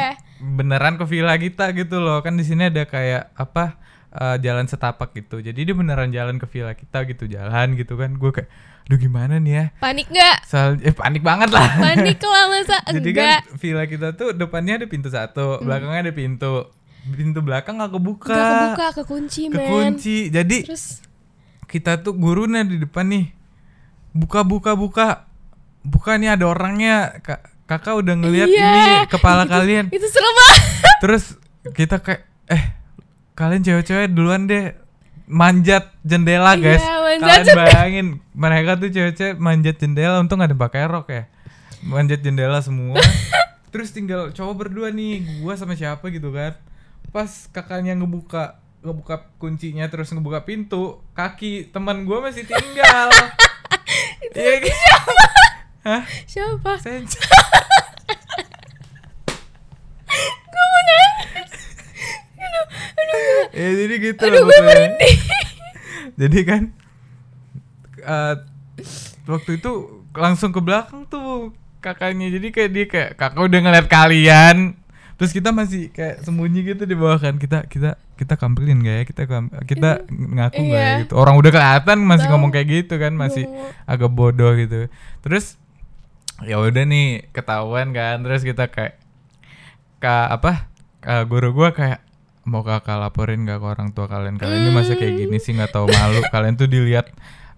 Speaker 2: beneran ke villa kita gitu loh. Kan di sini ada kayak apa eh, jalan setapak gitu. Jadi dia beneran jalan ke villa kita gitu, jalan gitu kan. Gue kayak, aduh gimana nih ya?
Speaker 1: Panik nggak?
Speaker 2: Soal eh, panik banget lah.
Speaker 1: Panik lah masa enggak?
Speaker 2: Jadi
Speaker 1: Hmm.
Speaker 2: kan villa kita tuh depannya ada pintu satu, belakangnya ada pintu. Pintu belakang gak kebuka.
Speaker 1: Gak kebuka, kekunci men.
Speaker 2: Kekunci. Jadi
Speaker 1: Terus
Speaker 2: kita tuh gurunya di depan nih. Buka buka buka. Buka nih ada orangnya. Ka- kakak udah ngelihat
Speaker 1: Iya.
Speaker 2: ini kepala kalian.
Speaker 1: itu seru banget.
Speaker 2: Terus kita kayak eh kalian cewek-cewek duluan deh manjat jendela guys.
Speaker 1: Iya, manjat
Speaker 2: kalian
Speaker 1: jendela.
Speaker 2: bayangin mereka tuh cewek-cewek manjat jendela untung ada pakai rok ya. Manjat jendela semua. Terus tinggal cowok berdua nih, gua sama siapa gitu kan. Pas kakaknya ngebuka ngebuka kuncinya terus ngebuka pintu, kaki teman gua masih tinggal. Iya kan? Hah?
Speaker 1: Siapa?
Speaker 2: Senja. ya jadi gitu lah pokoknya. jadi kan eh, waktu itu langsung ke belakang tuh kakaknya jadi kayak dia kayak kakak udah ngeliat kalian terus kita masih kayak sembunyi gitu di bawah kan kita kita kita kampilin gak ya kita kam- kita ngaku nggak ya
Speaker 1: iya.
Speaker 2: gitu orang udah kelihatan masih
Speaker 1: Tahu.
Speaker 2: ngomong kayak gitu kan masih
Speaker 1: Ngomong.
Speaker 2: agak bodoh gitu terus ya udah nih ketahuan kan terus kita kayak ke apa ke guru gua kayak mau kakak laporin gak ke orang tua kalian kalian ini masa kayak gini sih nggak tahu malu kalian tuh dilihat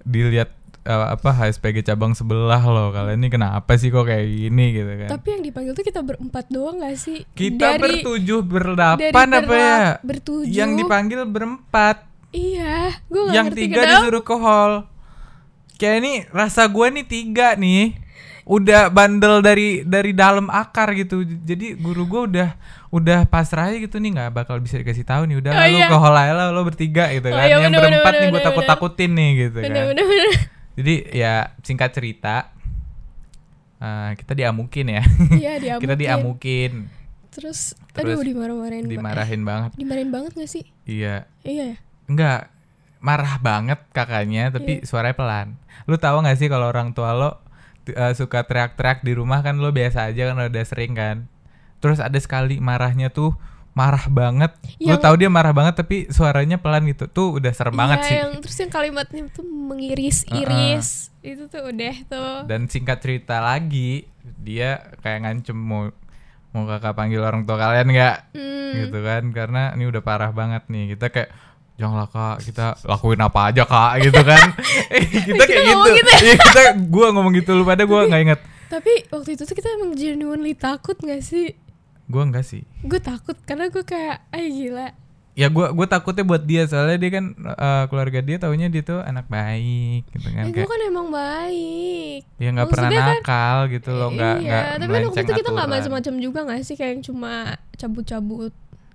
Speaker 2: dilihat eh, apa HSPG cabang sebelah loh kalian ini kenapa sih kok kayak gini gitu kan
Speaker 1: Tapi yang dipanggil tuh kita berempat doang gak sih? dari,
Speaker 2: kita bertujuh berdelapan
Speaker 1: dari
Speaker 2: apa ya
Speaker 1: berla- bertujuh.
Speaker 2: yang dipanggil berempat
Speaker 1: Iya, gue gak
Speaker 2: yang
Speaker 1: ngerti
Speaker 2: tiga
Speaker 1: kenapa.
Speaker 2: disuruh ke hall kayak ini rasa gue nih tiga nih udah bandel dari dari dalam akar gitu jadi guru gue udah udah pasrah aja gitu nih nggak bakal bisa dikasih tahu nih udah
Speaker 1: Oh,
Speaker 2: lu
Speaker 1: iya.
Speaker 2: ke hall aja lah lo bertiga gitu
Speaker 1: Oh,
Speaker 2: kan
Speaker 1: iya,
Speaker 2: yang
Speaker 1: bener, bener,
Speaker 2: berempat nih gue
Speaker 1: bener,
Speaker 2: takut takutin nih gitu kan
Speaker 1: Bener-bener.
Speaker 2: jadi ya singkat cerita eh, kita diamukin ya
Speaker 1: Iya, diamukin.
Speaker 2: kita diamukin
Speaker 1: Terus,
Speaker 2: Terus
Speaker 1: aduh dimarah-marahin. ba-
Speaker 2: dimarahin banget
Speaker 1: eh, dimarahin banget gak sih?
Speaker 2: iya
Speaker 1: Iya ya?
Speaker 2: Enggak marah banget kakaknya
Speaker 1: Iya.
Speaker 2: tapi suaranya pelan. Lu tahu nggak sih kalau orang tua lo t- eh, suka teriak-teriak di rumah kan lo biasa aja kan udah sering kan. Terus ada sekali marahnya tuh marah banget. Lu
Speaker 1: Yang-
Speaker 2: tahu dia marah banget tapi suaranya pelan gitu. Tuh udah serem banget
Speaker 1: Iya, Iya,
Speaker 2: sih.
Speaker 1: yang terus yang kalimatnya tuh mengiris-iris. Itu tuh udah tuh.
Speaker 2: Dan singkat cerita lagi dia kayak ngancem mau mau kakak panggil orang tua kalian nggak
Speaker 1: Hmm.
Speaker 2: gitu kan karena ini udah parah banget nih kita kayak janganlah kak kita lakuin apa aja kak gitu kan kita kayak gitu,
Speaker 1: ngomong gitu
Speaker 2: Iya, kita gue ngomong gitu lu pada gue nggak inget
Speaker 1: Tapi waktu itu tuh kita emang genuinely takut gak sih?
Speaker 2: gue enggak sih
Speaker 1: Gue takut karena gue kayak, ay gila.
Speaker 2: ya gue gue takutnya buat dia soalnya dia kan eh, keluarga dia taunya dia tuh anak baik gitu kan
Speaker 1: Eh, gue
Speaker 2: kayak
Speaker 1: kan emang baik.
Speaker 2: ya nggak pernah
Speaker 1: maksudnya kan-
Speaker 2: nakal gitu loh nggak nggak
Speaker 1: iya, tapi kan waktu
Speaker 2: melenceng
Speaker 1: itu kita nggak
Speaker 2: aturan.
Speaker 1: macam-macam juga nggak sih kayak yang cuma cabut-cabut.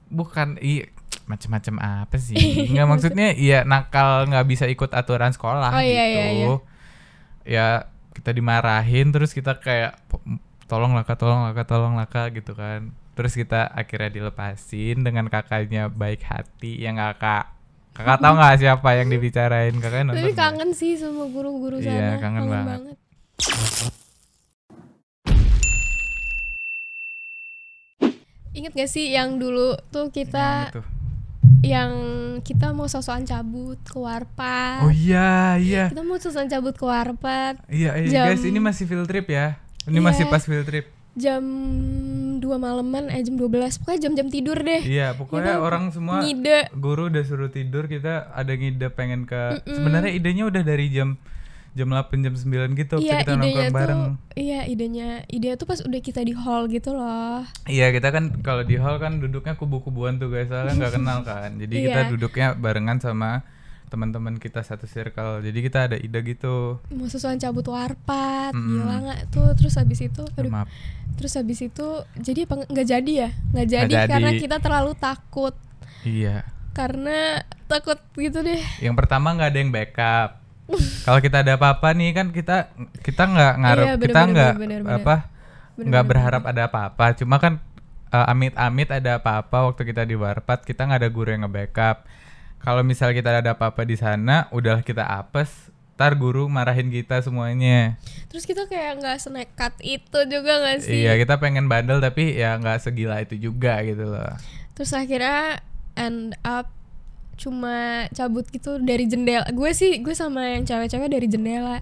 Speaker 2: bukan i macam-macam apa sih nggak maksudnya iya nakal nggak bisa ikut aturan sekolah
Speaker 1: Oh,
Speaker 2: gitu
Speaker 1: iya, iya, iya.
Speaker 2: ya kita dimarahin terus kita kayak tolong laka tolong laka tolong laka gitu kan terus kita akhirnya dilepasin dengan kakaknya baik hati yang kakak kakak tahu nggak siapa yang dibicarain kakaknya nonton
Speaker 1: Tapi
Speaker 2: nggak?
Speaker 1: kangen sih sama guru-guru
Speaker 2: Iya,
Speaker 1: sana.
Speaker 2: kangen banget.
Speaker 1: banget. Ingat gak sih yang dulu tuh
Speaker 2: Yang
Speaker 1: kita
Speaker 2: Nah, itu.
Speaker 1: yang kita mau sosokan cabut ke warpat.
Speaker 2: oh iya iya
Speaker 1: Kita mau sosokan cabut ke warpat
Speaker 2: iya iya
Speaker 1: Jam-
Speaker 2: guys ini masih field trip ya ini
Speaker 1: Iya.
Speaker 2: masih pas field trip
Speaker 1: jam 2 malaman eh jam 12 pokoknya jam-jam tidur deh.
Speaker 2: iya pokoknya
Speaker 1: Kita
Speaker 2: orang semua
Speaker 1: Ngide.
Speaker 2: guru udah suruh tidur kita ada ngide pengen ke sebenarnya idenya udah dari jam jam 8 jam 9 gitu waktu
Speaker 1: Iya,
Speaker 2: kita
Speaker 1: idenya
Speaker 2: nongkrong
Speaker 1: tuh
Speaker 2: bareng
Speaker 1: iya, idenya idenya tuh pas udah kita di hall gitu loh.
Speaker 2: iya kita kan kalau di hall kan duduknya kubu-kubuan tuh guys soalnya nggak kenal kan jadi kita
Speaker 1: Iya.
Speaker 2: duduknya barengan sama teman-teman kita satu circle jadi kita ada ide gitu
Speaker 1: mau susuan cabut warpat
Speaker 2: Mm-mm.
Speaker 1: gila nggak tuh terus habis itu aduh
Speaker 2: maaf
Speaker 1: terus habis itu jadi apa nggak- nggak jadi ya nggak jadi,
Speaker 2: jadi.
Speaker 1: karena kita terlalu takut
Speaker 2: iya
Speaker 1: karena takut gitu deh
Speaker 2: yang pertama nggak ada yang backup kalau kita ada apa-apa nih kan kita kita nggak ngaruh
Speaker 1: Iya, bener,
Speaker 2: kita
Speaker 1: bener,
Speaker 2: nggak
Speaker 1: bener, bener,
Speaker 2: apa
Speaker 1: Bener,
Speaker 2: nggak
Speaker 1: bener,
Speaker 2: berharap ada apa-apa cuma kan eh, amit-amit ada apa-apa waktu kita di warpat kita nggak ada guru yang nge-backup kalau misal kita ada apa-apa di sana udahlah kita apes ntar guru marahin kita semuanya
Speaker 1: terus kita kayak nggak senekat itu juga nggak sih
Speaker 2: iya kita pengen bandel tapi ya nggak segila itu juga gitu loh
Speaker 1: terus akhirnya end up cuma cabut gitu dari jendela gue sih gue sama yang cewek-cewek dari jendela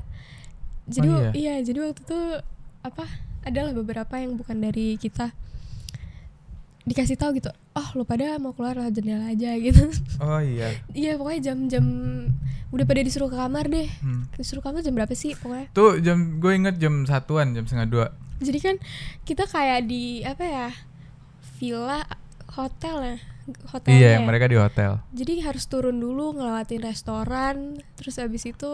Speaker 1: jadi
Speaker 2: Oh,
Speaker 1: wa- iya jadi waktu itu apa adalah beberapa yang bukan dari kita dikasih tahu gitu oh lu pada mau keluar lah jendela aja gitu
Speaker 2: oh iya
Speaker 1: iya pokoknya jam-jam udah pada disuruh ke kamar deh
Speaker 2: Hmm.
Speaker 1: disuruh kamar jam berapa sih pokoknya
Speaker 2: tuh jam gue inget jam satuan jam setengah dua
Speaker 1: jadi kan kita kayak di apa ya villa hotel ya hotel
Speaker 2: iya yang mereka di hotel
Speaker 1: jadi harus turun dulu ngelewatin restoran terus abis itu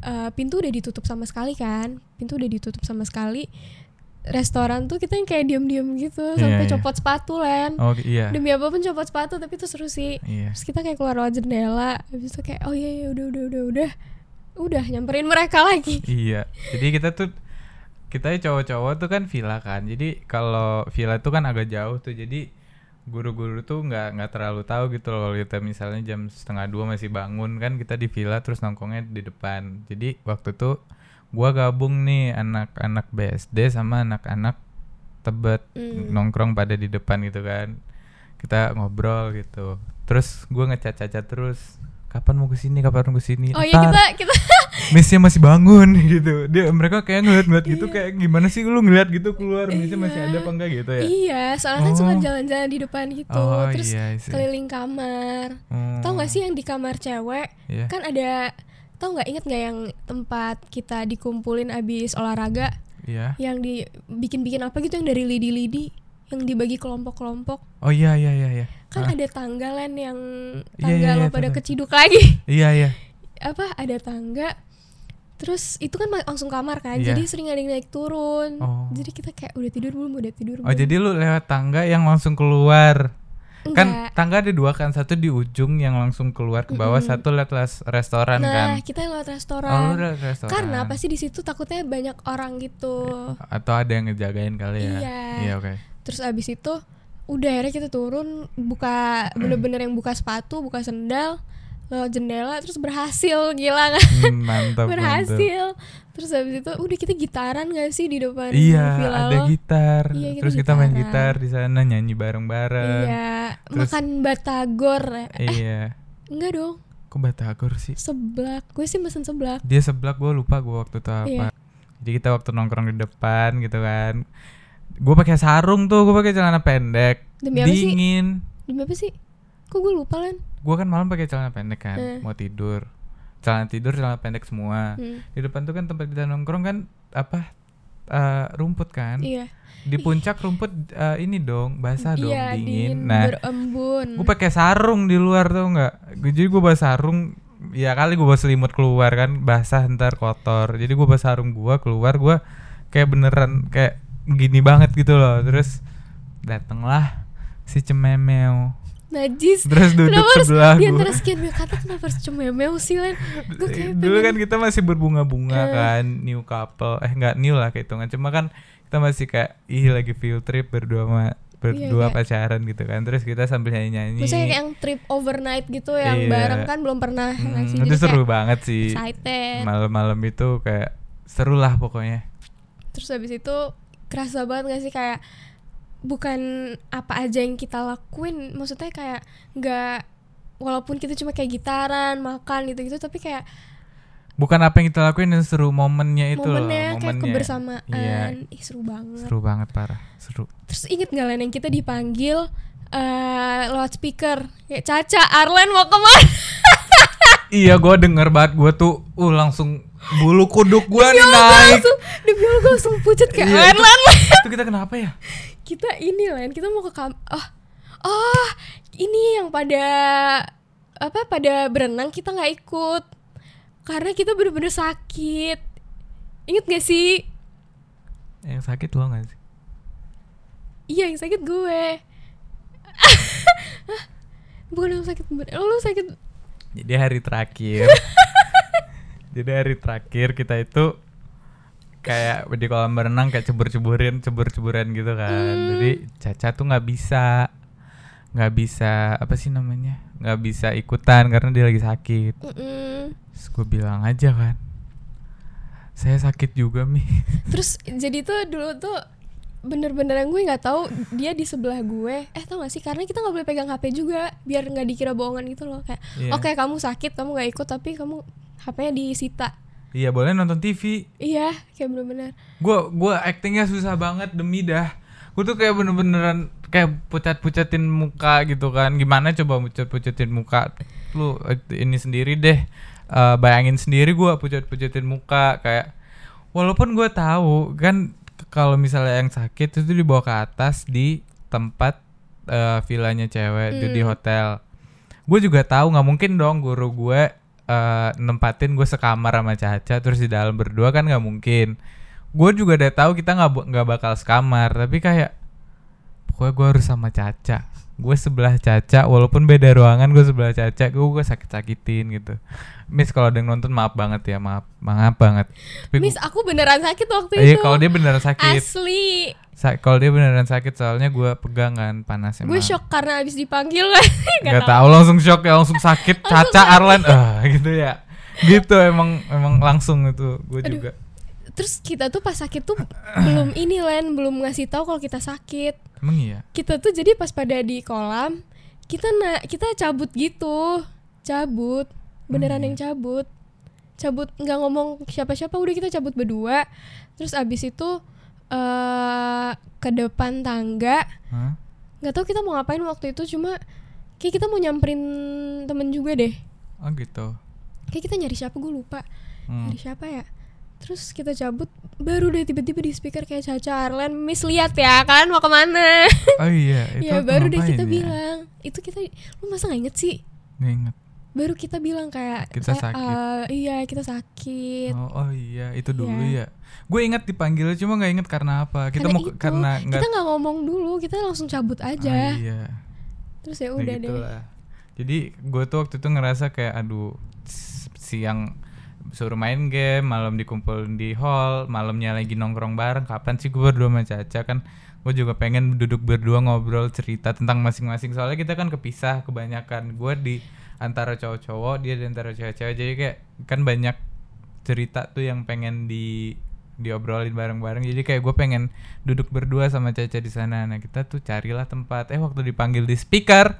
Speaker 1: eh, pintu udah ditutup sama sekali kan pintu udah ditutup sama sekali restoran tuh kita yang kayak diem-diem gitu
Speaker 2: Iya,
Speaker 1: sampai
Speaker 2: iya.
Speaker 1: copot sepatu len
Speaker 2: oh iya
Speaker 1: demi apapun copot sepatu tapi itu seru sih
Speaker 2: iya
Speaker 1: terus kita kayak keluar lewat jendela abis itu kayak oh iya iya udah udah udah udah udah nyamperin mereka lagi
Speaker 2: Iya. Jadi kita tuh kita cowok-cowok tuh kan villa kan. Jadi kalau villa tuh kan agak jauh tuh. Jadi guru-guru tuh nggak nggak terlalu tahu gitu loh kalau kita misalnya jam setengah dua masih bangun kan kita di villa terus nongkrongnya di depan. Jadi waktu itu gua gabung nih anak-anak BSD sama anak-anak Tebet
Speaker 1: Hmm.
Speaker 2: nongkrong pada di depan gitu kan. Kita ngobrol gitu. Terus gua ngecat-cacat terus kapan mau kesini kapan mau kesini
Speaker 1: oh iya
Speaker 2: Ntar.
Speaker 1: kita kita
Speaker 2: Messi masih bangun gitu. Dia mereka kayak ngeliat-ngeliat gitu
Speaker 1: Iya.
Speaker 2: kayak gimana sih lu ngeliat gitu keluar Messi masih ada apa enggak gitu ya.
Speaker 1: iya soalnya kan suka
Speaker 2: Oh.
Speaker 1: jalan-jalan di depan gitu
Speaker 2: Oh,
Speaker 1: terus
Speaker 2: iya, I see.
Speaker 1: keliling kamar
Speaker 2: Hmm,
Speaker 1: tau nggak sih yang di kamar cewek
Speaker 2: Iya.
Speaker 1: kan ada tau nggak inget nggak yang tempat kita dikumpulin abis olahraga
Speaker 2: Iya.
Speaker 1: yang dibikin bikin apa gitu yang dari lidi lidi yang dibagi kelompok-kelompok
Speaker 2: Oh iya iya iya iya.
Speaker 1: kan
Speaker 2: Ah,
Speaker 1: ada tanggalan yang
Speaker 2: Iya,
Speaker 1: tanggal
Speaker 2: iya,
Speaker 1: lo
Speaker 2: iya,
Speaker 1: pada
Speaker 2: tahu, tahu.
Speaker 1: keciduk lagi
Speaker 2: Iya iya.
Speaker 1: apa ada tangga terus itu kan ma- langsung kamar kan
Speaker 2: Iya.
Speaker 1: jadi sering ada yang naik turun
Speaker 2: Oh.
Speaker 1: jadi kita kayak udah tidur belum udah tidur
Speaker 2: Oh
Speaker 1: belum
Speaker 2: jadi lu lewat tangga yang langsung keluar. Kan
Speaker 1: Enggak.
Speaker 2: tangga ada dua kan, satu di ujung yang langsung keluar ke bawah, satu lewat les- restoran kan.
Speaker 1: nah kita lewat restoran,
Speaker 2: Oh, lu lewat restoran.
Speaker 1: karena pasti di situ takutnya banyak orang gitu
Speaker 2: Atau ada yang ngejagain kali ya.
Speaker 1: Iya.
Speaker 2: oke.
Speaker 1: terus abis itu udah akhirnya kita turun buka bener-bener yang buka sepatu buka sendal lewat jendela terus berhasil gila kan
Speaker 2: Hmm, mantap mantap.
Speaker 1: berhasil terus abis itu udah kita gitaran gak sih Kan di depan
Speaker 2: Iya,
Speaker 1: villa
Speaker 2: ada
Speaker 1: lo?
Speaker 2: gitar.
Speaker 1: Iya, kita
Speaker 2: Terus kita main
Speaker 1: gitaran.
Speaker 2: gitar di sana nyanyi bareng-bareng.
Speaker 1: iya
Speaker 2: terus-
Speaker 1: makan batagor eh
Speaker 2: Iya.
Speaker 1: enggak dong
Speaker 2: Kok batagor sih?
Speaker 1: seblak gue sih mesen seblak
Speaker 2: Dia seblak gue lupa gue waktu itu apa.
Speaker 1: Iya.
Speaker 2: Jadi kita waktu nongkrong di depan gitu kan. Gue pakai sarung tuh, gue pakai celana pendek.
Speaker 1: Demi apa sih?
Speaker 2: Dingin.
Speaker 1: demi apa sih kok gue lupa lan
Speaker 2: Gue kan malam pakai celana pendek kan,
Speaker 1: Eh.
Speaker 2: mau tidur. Celana tidur, celana pendek semua.
Speaker 1: Hmm,
Speaker 2: Di depan tuh kan tempat kita nongkrong kan apa? eh, rumput kan.
Speaker 1: iya
Speaker 2: Di puncak rumput eh, ini dong, basah dong,
Speaker 1: iya dingin
Speaker 2: dingin. Nah,
Speaker 1: berembun
Speaker 2: gue pakai sarung di luar tuh nggak jadi gue bawa sarung ya kali gue bawa selimut keluar kan basah ntar kotor jadi gue bawa sarung gue keluar gue kayak beneran kayak gini banget gitu loh terus datanglah si cememeo
Speaker 1: najis
Speaker 2: terus duduk
Speaker 1: Kenapa harus
Speaker 2: sebelah
Speaker 1: di
Speaker 2: gua.
Speaker 1: antara sekian banyak kata kenapa harus cememeo sih Len? Gue kayak
Speaker 2: dulu kan
Speaker 1: pengen-
Speaker 2: kita masih berbunga-bunga kan new couple eh nggak new lah kehitungan cuma kan kita masih kayak ih lagi field trip berdua sama berdua
Speaker 1: kayak-
Speaker 2: pacaran gitu kan terus kita sambil nyanyi-nyanyi
Speaker 1: Iya, Maksudnya kayak yang trip overnight gitu yang
Speaker 2: Iya.
Speaker 1: bareng kan belum pernah nggak sih?
Speaker 2: Hmm, itu
Speaker 1: Jadi
Speaker 2: seru
Speaker 1: kayak
Speaker 2: banget sih
Speaker 1: excited.
Speaker 2: malam-malam itu kayak seru lah pokoknya
Speaker 1: Terus habis itu kerasa banget gak sih kayak bukan apa aja yang kita lakuin, maksudnya kayak nggak walaupun kita cuma kayak gitaran, makan gitu-gitu tapi kayak
Speaker 2: bukan apa yang kita lakuin yang seru momennya itu
Speaker 1: momennya
Speaker 2: loh
Speaker 1: kayak
Speaker 2: momennya
Speaker 1: kebersamaan.
Speaker 2: iya
Speaker 1: Ih, seru banget.
Speaker 2: seru banget parah seru
Speaker 1: Terus inget gak Len yang kita dipanggil eh lewat speaker kayak Caca, Arlen mau kemana?
Speaker 2: iya gue denger banget gue tuh uh langsung bulu kuduk gue nih naik
Speaker 1: Iya, langsung demi Allah gue langsung pucet kayak
Speaker 2: Iya,
Speaker 1: Len,
Speaker 2: itu-
Speaker 1: Len, Len."
Speaker 2: itu kita kenapa ya
Speaker 1: kita ini Len kita mau ke kam oh oh ini yang pada apa pada berenang kita nggak ikut karena kita bener-bener sakit inget gak sih
Speaker 2: yang sakit lo gak sih
Speaker 1: iya yang sakit gue Hah? bukan yang sakit bener lo, lo sakit
Speaker 2: jadi hari terakhir jadi hari terakhir kita itu kayak di kolam renang kayak cebur-ceburin cebur-ceburan gitu kan jadi Caca tuh nggak bisa nggak bisa apa sih namanya nggak bisa ikutan karena dia lagi sakit
Speaker 1: Mm-mm.
Speaker 2: terus gue bilang aja kan saya sakit juga mi
Speaker 1: terus jadi tuh dulu tuh bener-bener yang gue nggak tahu dia di sebelah gue eh tau gak sih karena kita nggak boleh pegang hp juga biar nggak dikira bohongan gitu loh kayak
Speaker 2: Iya.
Speaker 1: oke kamu sakit kamu nggak ikut tapi kamu hpnya disita
Speaker 2: iya boleh nonton TV
Speaker 1: iya kayak bener-bener
Speaker 2: gue gua actingnya susah banget demi dah gue tuh kayak bener-beneran kayak pucat-pucatin muka gitu kan gimana coba pucat-pucatin muka lu eh, ini sendiri deh Eh, bayangin sendiri gua pucat-pucatin muka kayak walaupun gua tahu kan k- kalau misalnya yang sakit itu dibawa ke atas di tempat eh, villanya cewek di- di hotel gue juga tahu nggak mungkin dong guru gue eh, nempatin gue sekamar sama Caca terus di dalam berdua kan nggak mungkin gue juga udah tahu kita nggak bu- nggak bakal sekamar tapi kayak pokoknya gue harus sama Caca gue sebelah Caca walaupun beda ruangan gue sebelah Caca gue gue sakit sakitin gitu Miss kalau ada yang nonton maaf banget ya maaf maaf banget tapi
Speaker 1: miss
Speaker 2: gua-
Speaker 1: aku beneran sakit waktu
Speaker 2: iya
Speaker 1: itu
Speaker 2: kalau dia beneran sakit
Speaker 1: asli
Speaker 2: Sa- kalau dia beneran sakit soalnya gue pegang kan panasnya
Speaker 1: gue
Speaker 2: maaf.
Speaker 1: shock karena abis dipanggil kan Nggak
Speaker 2: nggak tahu langsung shock ya langsung sakit Caca Arlan ah gitu ya gitu emang emang langsung itu gue juga
Speaker 1: terus kita tuh pas sakit tuh belum ini Len belum ngasih tahu kalau kita sakit
Speaker 2: emang iya
Speaker 1: kita tuh jadi pas pada di kolam kita na kita cabut gitu cabut beneran yang cabut cabut nggak ngomong siapa-siapa udah kita cabut berdua terus abis itu eh ke depan tangga
Speaker 2: Hah?
Speaker 1: nggak tahu kita mau ngapain waktu itu cuma kayak kita mau nyamperin temen juga deh
Speaker 2: oh gitu
Speaker 1: kayak kita nyari siapa gue lupa
Speaker 2: Hmm.
Speaker 1: nyari siapa ya terus kita cabut baru deh tiba-tiba di speaker kayak Caca Arlen Miss lihat ya kan mau kemana
Speaker 2: oh iya itu
Speaker 1: ya
Speaker 2: waktu
Speaker 1: baru deh
Speaker 2: ngapain
Speaker 1: kita
Speaker 2: ya?
Speaker 1: bilang itu kita lu masa nggak inget sih
Speaker 2: Nggak inget
Speaker 1: baru kita bilang kayak
Speaker 2: Kita
Speaker 1: saya-
Speaker 2: sakit.
Speaker 1: eh, iya kita sakit
Speaker 2: oh, oh iya itu dulu
Speaker 1: Iya.
Speaker 2: ya gue ingat dipanggilnya cuma nggak inget karena apa kita
Speaker 1: karena
Speaker 2: mau
Speaker 1: itu
Speaker 2: karena nggak
Speaker 1: kita nggak ngomong dulu kita langsung cabut
Speaker 2: Ah,
Speaker 1: aja
Speaker 2: iya
Speaker 1: terus ya
Speaker 2: Ya
Speaker 1: udah deh
Speaker 2: gitulah. jadi gue tuh waktu itu ngerasa kayak aduh s- siang suruh main game malam dikumpulin di hall malamnya lagi nongkrong bareng kapan sih gue berdua sama Caca kan gue juga pengen duduk berdua ngobrol cerita tentang masing-masing soalnya kita kan kepisah kebanyakan gue di antara cowok-cowok dia di antara cewek-cewek jadi kayak kan banyak cerita tuh yang pengen di diobrolin bareng-bareng jadi kayak gue pengen duduk berdua sama Caca di sana nah kita tuh carilah tempat eh waktu dipanggil di speaker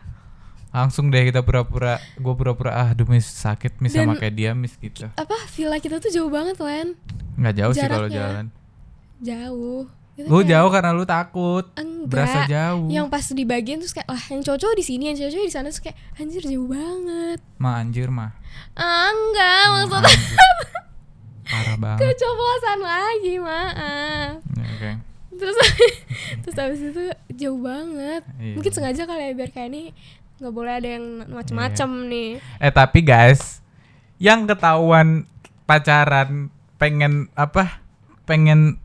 Speaker 2: langsung deh kita pura-pura gue pura-pura ah aduh mis sakit mis
Speaker 1: Dan-
Speaker 2: sama kayak dia mis gitu
Speaker 1: apa villa kita tuh jauh banget Len
Speaker 2: nggak jauh sih kalau
Speaker 1: Jaraknya.
Speaker 2: jalan
Speaker 1: jauh Kita
Speaker 2: lu
Speaker 1: kayak,
Speaker 2: jauh karena lu takut
Speaker 1: enggak
Speaker 2: berasa jauh
Speaker 1: yang pas dibagiin terus kayak wah yang cowok-cowok di sini yang cewek-cewek di sana terus kayak anjir jauh banget
Speaker 2: mah anjir mah
Speaker 1: ah, enggak maksudnya
Speaker 2: Anjir. parah banget
Speaker 1: keceplosan lagi maaf
Speaker 2: Ya, oke
Speaker 1: terus terus abis itu jauh banget
Speaker 2: Iya.
Speaker 1: mungkin sengaja kali ya biar kayak ini nggak boleh ada yang macem-macem nih
Speaker 2: Eh tapi guys, yang ketahuan pacaran pengen apa? Pengen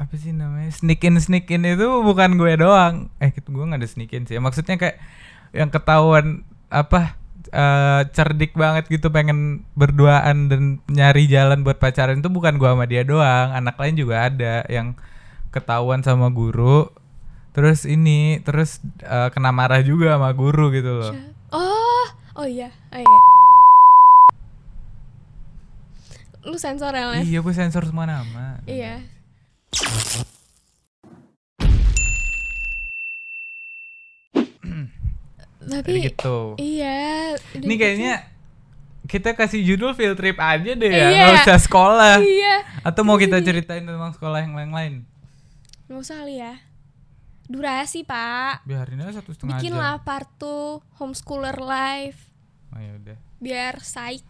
Speaker 2: apa sih namanya? Sneak in sneak in itu bukan gue doang. Eh gitu gue nggak ada sneak in sih. Maksudnya kayak yang ketahuan apa? eh, cerdik banget gitu pengen berduaan dan nyari jalan buat pacaran itu bukan gua sama dia doang anak lain juga ada yang ketahuan sama guru terus ini terus eh, kena marah juga sama guru gitu loh
Speaker 1: oh oh iya oh iya lu sensor ya Les?
Speaker 2: Iya, gue sensor semua nama.
Speaker 1: iya
Speaker 2: Jadi
Speaker 1: tapi
Speaker 2: gitu.
Speaker 1: iya
Speaker 2: Ini
Speaker 1: dan-
Speaker 2: kayaknya kita kasih judul field trip aja deh ya,
Speaker 1: Iya.
Speaker 2: nggak usah sekolah.
Speaker 1: iya
Speaker 2: Atau mau kita ceritain tentang sekolah yang lain-lain?
Speaker 1: nggak usah kali ya durasi pak
Speaker 2: Biarin aja satu setengah jam.
Speaker 1: bikinlah part tuh homeschooler life
Speaker 2: Oh ya udah,
Speaker 1: biar saik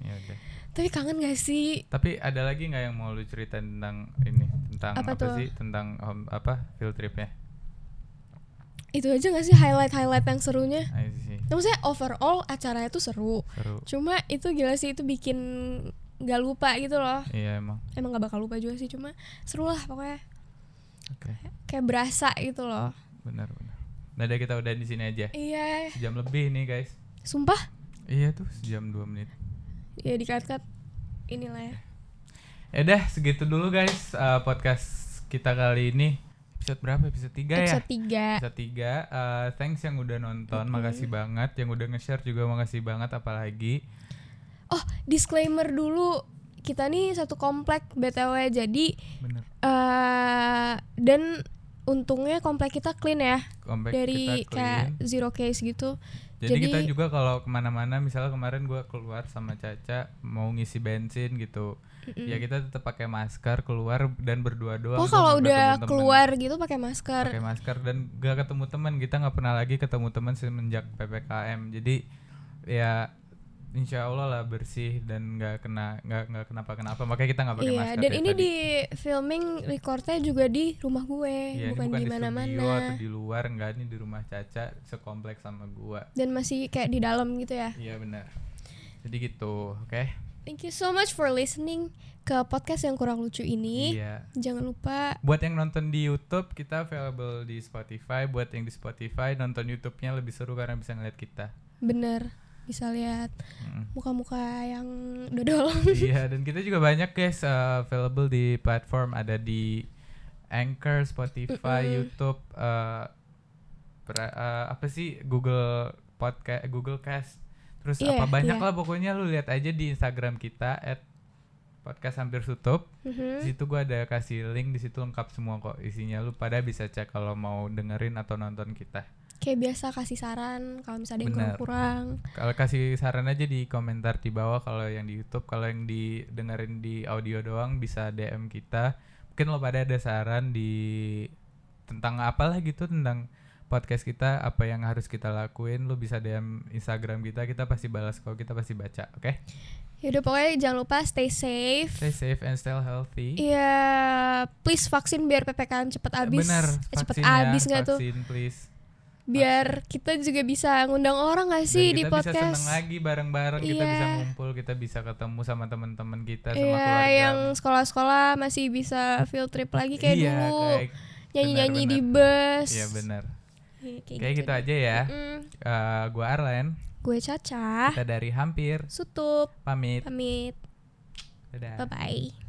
Speaker 2: ya udah.
Speaker 1: tapi kangen gak sih
Speaker 2: Tapi ada lagi nggak yang mau lu ceritain tentang ini, tentang apa,
Speaker 1: Apa tuh?
Speaker 2: sih, tentang home- apa field tripnya?
Speaker 1: itu aja gak sih highlight highlight yang serunya
Speaker 2: Ayo Nah, sih,
Speaker 1: Ya, maksudnya overall acaranya tuh seru
Speaker 2: seru.
Speaker 1: cuma itu gila sih itu bikin nggak lupa gitu loh
Speaker 2: Iya emang.
Speaker 1: emang nggak bakal lupa juga sih cuma seru lah pokoknya
Speaker 2: Oke,
Speaker 1: kayak berasa gitu loh
Speaker 2: benar benar. Nah, udah kita udah di sini aja.
Speaker 1: iya
Speaker 2: Sejam lebih nih guys.
Speaker 1: sumpah
Speaker 2: Iya tuh, sejam dua menit.
Speaker 1: ya dikat-kat inilah ya
Speaker 2: Ya udah segitu dulu guys eh, podcast kita kali ini episode berapa episode 3 ya
Speaker 1: episode 3
Speaker 2: episode 3 thanks yang udah nonton makasih banget yang udah nge-share juga makasih banget apalagi
Speaker 1: oh disclaimer dulu kita nih satu komplek btw jadi
Speaker 2: bener
Speaker 1: eh dan untungnya komplek kita clean ya
Speaker 2: comeback
Speaker 1: dari
Speaker 2: kita
Speaker 1: kayak
Speaker 2: clean
Speaker 1: zero case gitu
Speaker 2: jadi, kita
Speaker 1: jadi-
Speaker 2: juga kalau kemana-mana misalnya kemarin gua keluar sama Caca mau ngisi bensin gitu ya kita tetap pakai masker keluar dan berdua doang
Speaker 1: Oh
Speaker 2: tuh
Speaker 1: kalau
Speaker 2: nggak
Speaker 1: udah
Speaker 2: ketemu temen.
Speaker 1: keluar gitu pakai masker.
Speaker 2: pakai masker dan gak ketemu teman kita nggak pernah lagi ketemu teman semenjak ppkm jadi ya insya allah lah bersih dan nggak kena nggak nggak kenapa kenapa makanya kita nggak pakai
Speaker 1: Iya,
Speaker 2: masker
Speaker 1: dan
Speaker 2: kayak
Speaker 1: ini
Speaker 2: tadi.
Speaker 1: di filming recordnya juga di rumah gue,
Speaker 2: Iya,
Speaker 1: bukan,
Speaker 2: ini
Speaker 1: di
Speaker 2: studio atau
Speaker 1: mana-mana.
Speaker 2: di luar enggak ini di rumah caca sekompleks sama gua
Speaker 1: Dan masih kayak di dalam gitu ya.
Speaker 2: iya benar jadi gitu oke
Speaker 1: Thank you so much for listening ke podcast yang kurang lucu ini.
Speaker 2: iya
Speaker 1: Jangan lupa
Speaker 2: buat yang nonton di YouTube kita available di Spotify buat yang di Spotify nonton YouTube-nya lebih seru karena bisa ngeliat kita
Speaker 1: bener bisa lihat
Speaker 2: Mm.
Speaker 1: muka-muka yang dodol.
Speaker 2: Iya, dan kita juga banyak guys uh, available di platform ada di Anchor, Spotify, YouTube, uh, pra- uh, apa sih Google Podcast, Google Cast, terus
Speaker 1: Iya,
Speaker 2: apa banyak
Speaker 1: iya.
Speaker 2: lah pokoknya lu lihat aja di Instagram kita at podcast hampir tutup.
Speaker 1: Mhm.
Speaker 2: Di situ gua ada kasih link, di situ lengkap semua kok isinya. Lu pada bisa cek kalau mau dengerin atau nonton kita.
Speaker 1: Kayak biasa kasih saran kalau misalnya ada yang
Speaker 2: Bener.
Speaker 1: kurang-kurang.
Speaker 2: Kalau kasih saran aja di komentar di bawah kalau yang di YouTube, kalau yang didengerin di audio doang bisa DM kita. Mungkin lo pada ada saran di tentang apalah gitu tentang podcast kita apa yang harus kita lakuin lu bisa DM Instagram kita kita pasti balas kok kita pasti baca oke
Speaker 1: Yaudah Ya pokoknya jangan lupa stay safe.
Speaker 2: stay safe and stay healthy
Speaker 1: Iya, please vaksin biar PPKM cepet habis.
Speaker 2: Iya, bener ya,
Speaker 1: Eh, cepet
Speaker 2: vaksinnya,
Speaker 1: habis nggak tuh?
Speaker 2: vaksin please
Speaker 1: Biar kita juga bisa ngundang orang nggak sih
Speaker 2: Dan
Speaker 1: di
Speaker 2: kita bisa
Speaker 1: podcast?
Speaker 2: seneng lagi bareng-bareng kita bisa
Speaker 1: Iya.
Speaker 2: ngumpul kita bisa ketemu sama teman-teman kita sama
Speaker 1: Iya,
Speaker 2: keluarga
Speaker 1: yang sekolah-sekolah masih bisa field trip lagi kayak
Speaker 2: Iya,
Speaker 1: dulu.
Speaker 2: kayak-
Speaker 1: Nyanyi-nyanyi di
Speaker 2: benar.
Speaker 1: bus.
Speaker 2: iya benar
Speaker 1: Iya, Kayak,
Speaker 2: kayak gitu aja ya Eh, gua Arlen
Speaker 1: Gue Caca,
Speaker 2: kita Ya. dari hampir
Speaker 1: Sutup,
Speaker 2: Ah. pamit
Speaker 1: pamit.
Speaker 2: dadah
Speaker 1: Bye-bye.